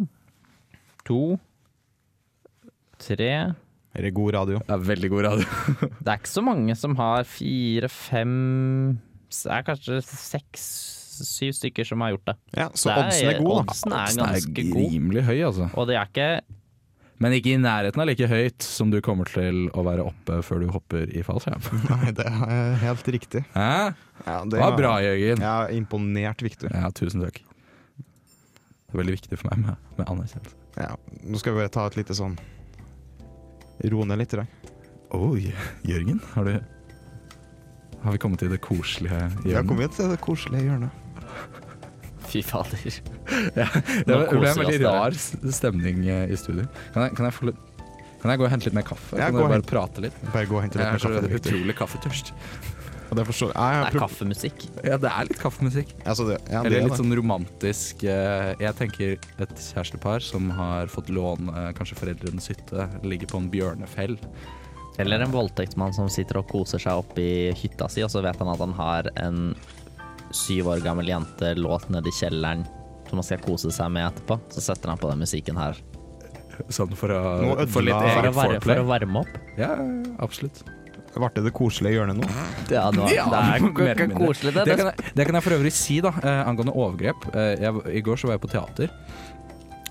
[SPEAKER 9] to, tre
[SPEAKER 6] Her er god radio.
[SPEAKER 2] Det er veldig god radio.
[SPEAKER 9] Det er ikke så mange som har fire, fem s- Det er kanskje seks, syv stykker som har gjort det.
[SPEAKER 6] Ja, så
[SPEAKER 9] Det er-
[SPEAKER 6] oddsen er god, da.
[SPEAKER 9] Oddsen er
[SPEAKER 2] Den er
[SPEAKER 9] ganske god.
[SPEAKER 2] rimelig høy, altså.
[SPEAKER 9] Og det er ikke
[SPEAKER 2] Men ikke i nærheten av like høyt som du kommer til å være oppe før du hopper i fallskjerm.
[SPEAKER 6] Nei, det er helt riktig.
[SPEAKER 2] Hæ?
[SPEAKER 6] Ja,
[SPEAKER 2] Det var bra, Jørgen.
[SPEAKER 6] Ja, imponert, Victor.
[SPEAKER 2] Ja, tusen takk. Det er veldig viktig for meg med, med anerkjennelse.
[SPEAKER 6] Ja, nå skal vi bare ta et lite sånn Roe ned litt i dag.
[SPEAKER 2] Oi, Jørgen, har du Har vi kommet til det koselige
[SPEAKER 6] Ja, kom
[SPEAKER 2] hjørnet?
[SPEAKER 6] hit til det koselige hjørnet.
[SPEAKER 7] Fy fader.
[SPEAKER 2] Det
[SPEAKER 7] Nå
[SPEAKER 2] ble en
[SPEAKER 7] koser vi
[SPEAKER 2] veldig
[SPEAKER 7] oss der.
[SPEAKER 2] rar s- stemning eh, i studio. Kan jeg, kan jeg, få, litt- kan jeg gå og hente litt mer kaffe?
[SPEAKER 6] Ja,
[SPEAKER 2] kan
[SPEAKER 6] gå og
[SPEAKER 2] dere bare
[SPEAKER 6] hent-
[SPEAKER 2] prate litt?
[SPEAKER 6] Bare gå og hente
[SPEAKER 2] Jeg
[SPEAKER 6] litt
[SPEAKER 2] er
[SPEAKER 6] mer
[SPEAKER 2] så
[SPEAKER 6] kaffe. til Victor.
[SPEAKER 2] utrolig kaffetørst.
[SPEAKER 6] Ja, det forstår jeg. Jeg
[SPEAKER 7] Det
[SPEAKER 6] har
[SPEAKER 7] er
[SPEAKER 6] prob-
[SPEAKER 7] kaffemusikk.
[SPEAKER 2] Ja, det er litt kaffemusikk.
[SPEAKER 6] Altså, det, ja, det,
[SPEAKER 2] Eller
[SPEAKER 6] er
[SPEAKER 2] litt
[SPEAKER 6] det.
[SPEAKER 2] sånn romantisk eh, Jeg tenker et kjærestepar som har fått låne eh, kanskje foreldrenes hytte, ligger på en bjørnefell.
[SPEAKER 7] Eller en voldtektsmann som sitter og koser seg oppe i hytta si, og så vet han at han har en syv år gammel jente låst nede i kjelleren som han skal kose seg med etterpå. Så setter han på den musikken her.
[SPEAKER 2] Sånn for å
[SPEAKER 6] Nå ødela-
[SPEAKER 2] få litt
[SPEAKER 6] For å
[SPEAKER 7] For
[SPEAKER 2] eget
[SPEAKER 7] å, varme, for
[SPEAKER 2] foreplay.
[SPEAKER 7] å varme opp.
[SPEAKER 2] Ja, absolutt.
[SPEAKER 6] Ble det det koselige hjørnet nå?
[SPEAKER 7] Ja, det, var, det er
[SPEAKER 2] mer eller
[SPEAKER 7] ikke
[SPEAKER 2] mindre.
[SPEAKER 7] koselig,
[SPEAKER 2] Det
[SPEAKER 7] det. det
[SPEAKER 2] kan, jeg, det kan jeg for øvrig si, da, eh, angående overgrep. Eh, jeg, I går så var jeg på teater.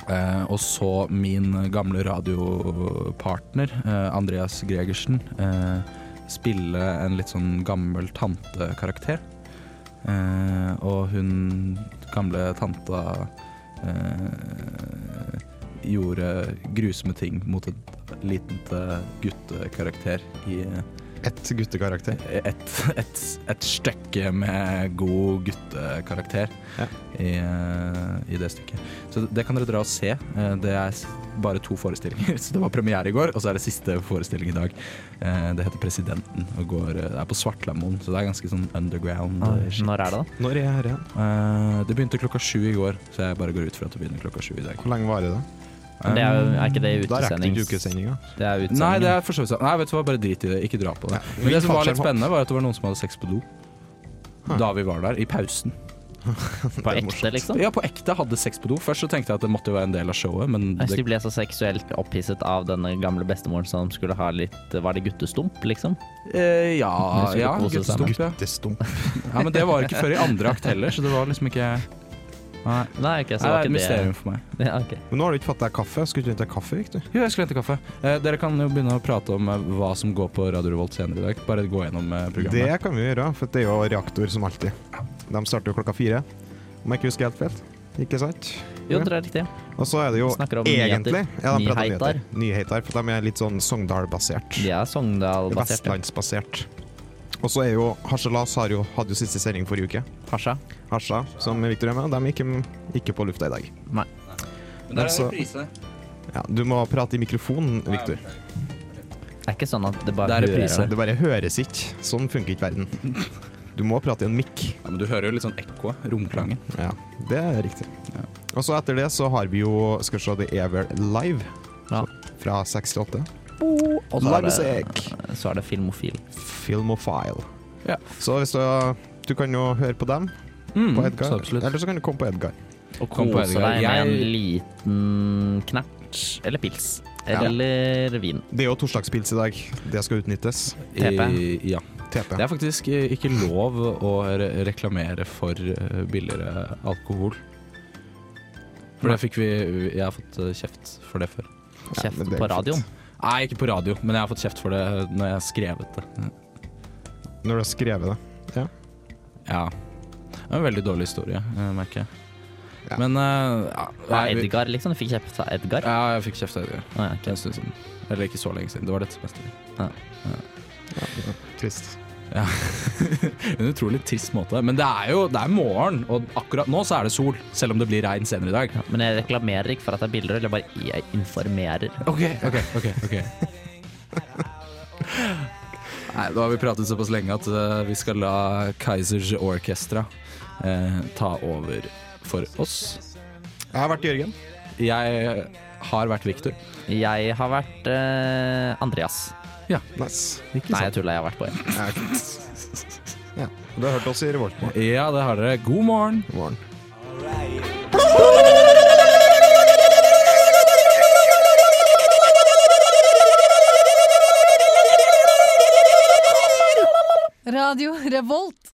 [SPEAKER 2] eh, og så min gamle radiopartner, eh, Andreas Gregersen, eh, spille en litt sånn gammel tantekarakter. Eh, og hun gamle tanta eh, gjorde grusomme ting mot et lite guttekarakter i
[SPEAKER 6] Ett guttekarakter.
[SPEAKER 2] et, et, et stykke med god guttekarakter
[SPEAKER 6] Ja.
[SPEAKER 2] i, eh, i det stykket. Så det kan dere dra og se. Eh, Det er s- bare to forestillinger. Så det var premiere i går, og så er det siste forestilling i dag. Eh, Det heter Presidenten og går, eh, det er på Svartlamoen, så det er ganske sånn underground. eh, shit.
[SPEAKER 7] Når er det, da?
[SPEAKER 6] Når er jeg her igjen?
[SPEAKER 2] Eh, Det begynte klokka sju i går, så jeg bare går ut fra at det begynner klokka sju i dag. Eh,
[SPEAKER 6] Hvor lenge varer det?
[SPEAKER 7] Det er, jo- sånn- er ikke det
[SPEAKER 6] Da rekker du
[SPEAKER 7] utesending?
[SPEAKER 6] ikke ukesendinga.
[SPEAKER 7] Det er utsending.
[SPEAKER 2] Nei, det er for så vidt sant. Nei, vet du hva, bare drit i det. Ikke dra på det.
[SPEAKER 6] Nei, vi
[SPEAKER 2] Men det som
[SPEAKER 6] tar
[SPEAKER 2] var litt
[SPEAKER 6] skjerm opp.
[SPEAKER 2] spennende, var at det var noen som hadde sex på do. Da vi var der, i pausen.
[SPEAKER 7] på ekte, liksom.
[SPEAKER 2] Ja, på ekte hadde sex på do. Først så tenkte jeg at det måtte jo være en del av showet, men
[SPEAKER 7] Jeg synes
[SPEAKER 2] det,
[SPEAKER 7] de ble så seksuelt opphisset av denne gamle bestemoren som skulle ha litt Var det guttestump, liksom?
[SPEAKER 2] eh, ja,
[SPEAKER 7] skulle
[SPEAKER 2] ja,
[SPEAKER 7] kose seg.
[SPEAKER 2] guttestump, ja.
[SPEAKER 6] Guttestump.
[SPEAKER 2] ja. Men det var ikke før i andre akt heller, så det var liksom ikke Nei,
[SPEAKER 7] Nei,
[SPEAKER 2] det
[SPEAKER 7] ok, så det
[SPEAKER 2] er
[SPEAKER 7] var
[SPEAKER 2] et
[SPEAKER 7] ikke det.
[SPEAKER 2] mysterium for meg.
[SPEAKER 7] Ja, ok.
[SPEAKER 6] Men nå har du ikke fått deg kaffe. Skulle ikke du hente deg kaffe, Victor?
[SPEAKER 2] Jo, jeg skulle hente kaffe. Eh, dere kan jo begynne å prate om eh, hva som går på Radio Revolt senere i dag. Bare gå gjennom eh, programmet.
[SPEAKER 6] Det kan vi gjøre, for det er jo reaktor som alltid. De starter jo klokka fire, om jeg ikke husker helt feil. Ikke sant?
[SPEAKER 7] Jo, det er riktig.
[SPEAKER 6] Og så er det jo
[SPEAKER 7] Snakker om
[SPEAKER 6] egentlig
[SPEAKER 7] nyheter.
[SPEAKER 6] Ja, de prater om
[SPEAKER 7] Nyheter.
[SPEAKER 6] nyheter. Nyheter, for de er litt sånn Sogndal-basert.
[SPEAKER 7] De er Sogndal-basert. ja.
[SPEAKER 6] Vestlandsbasert. Og så er jo Harselas har jo, hadde jo siste sending forrige uke.
[SPEAKER 7] Hasja.
[SPEAKER 6] Harsa, som Victor er med, de gikk ikke på lufta i dag.
[SPEAKER 2] Men der er
[SPEAKER 6] altså-
[SPEAKER 2] en reprise.
[SPEAKER 6] Ja, du må prate i mikrofonen, Victor.
[SPEAKER 7] Det er ikke sånn at det
[SPEAKER 2] Det
[SPEAKER 7] bare
[SPEAKER 2] er
[SPEAKER 7] hører
[SPEAKER 2] reprise.
[SPEAKER 6] Det bare høres ikke. Sånn funker ikke verden. Du må prate i en mikk.
[SPEAKER 2] Ja, men du hører jo litt sånn ekko, romklangen.
[SPEAKER 6] Ja, det er riktig. Og så etter det så har vi jo Skal vi se, det er vel live
[SPEAKER 7] Ja.
[SPEAKER 6] fra 6 til 8.
[SPEAKER 7] Og så
[SPEAKER 6] Live
[SPEAKER 7] er det,
[SPEAKER 6] musikk!
[SPEAKER 7] så er det filmofil.
[SPEAKER 6] Filmofile.
[SPEAKER 2] Ja.
[SPEAKER 6] Så hvis du Du kan jo høre på dem
[SPEAKER 2] Mm,
[SPEAKER 6] på
[SPEAKER 2] så
[SPEAKER 6] Edgar.
[SPEAKER 2] absolutt.
[SPEAKER 6] Eller så kan du komme på Edgar.
[SPEAKER 7] Og
[SPEAKER 2] Kom på,
[SPEAKER 7] kose
[SPEAKER 2] Edgar.
[SPEAKER 7] deg med en
[SPEAKER 2] Jeg-
[SPEAKER 7] liten knert eller pils.
[SPEAKER 6] Ja.
[SPEAKER 7] Eller vin.
[SPEAKER 6] Det er jo torsdagspils i dag. Det skal utnyttes.
[SPEAKER 2] I, ja.
[SPEAKER 6] TP.
[SPEAKER 2] Det er faktisk eh, ikke lov å re reklamere for eh, billigere alkohol. For det fikk vi Jeg har fått eh, kjeft for det før.
[SPEAKER 7] Kjeft
[SPEAKER 6] men det er
[SPEAKER 7] på
[SPEAKER 6] fint.
[SPEAKER 7] radioen.
[SPEAKER 2] Nei, ikke på radio, men jeg har fått kjeft for det eh, når jeg har skrevet det.
[SPEAKER 6] Når du har skrevet det.
[SPEAKER 2] Ja. Det er en veldig dårlig historie, eh, merker jeg.
[SPEAKER 6] Ja.
[SPEAKER 2] Men eh, ja,
[SPEAKER 7] Ja,
[SPEAKER 2] nei, vi-
[SPEAKER 7] Edgar, liksom. Du fikk kjeft av Edgar.
[SPEAKER 2] Ja, jeg fikk kjeft av Edgar.
[SPEAKER 7] Å, ja, ok.
[SPEAKER 2] Det er en stund siden. Eller ikke så lenge siden. Det var dette semesteret.
[SPEAKER 6] Trist.
[SPEAKER 2] En utrolig trist måte. Men det er jo det er morgen, og akkurat nå så er det sol. Selv om det blir regn senere i dag.
[SPEAKER 7] Men jeg reklamerer ikke for at det er bilder, eller bare jeg informerer.
[SPEAKER 2] Ok, ok, ok, ok Nei, da har vi pratet såpass lenge at eh, vi skal la Kaisers Orkestra eh, ta over for oss.
[SPEAKER 6] Jeg har vært Jørgen.
[SPEAKER 2] Jeg har vært Victor.
[SPEAKER 7] Jeg har vært eh, Andreas.
[SPEAKER 6] Nice.
[SPEAKER 7] Nei, jeg tulla. Jeg har vært Bård.
[SPEAKER 6] Ja, ok. Ja. Du har hørt oss i Revoltmorgen.
[SPEAKER 2] Ja, det har dere. God morgen.
[SPEAKER 10] Radio Revolt.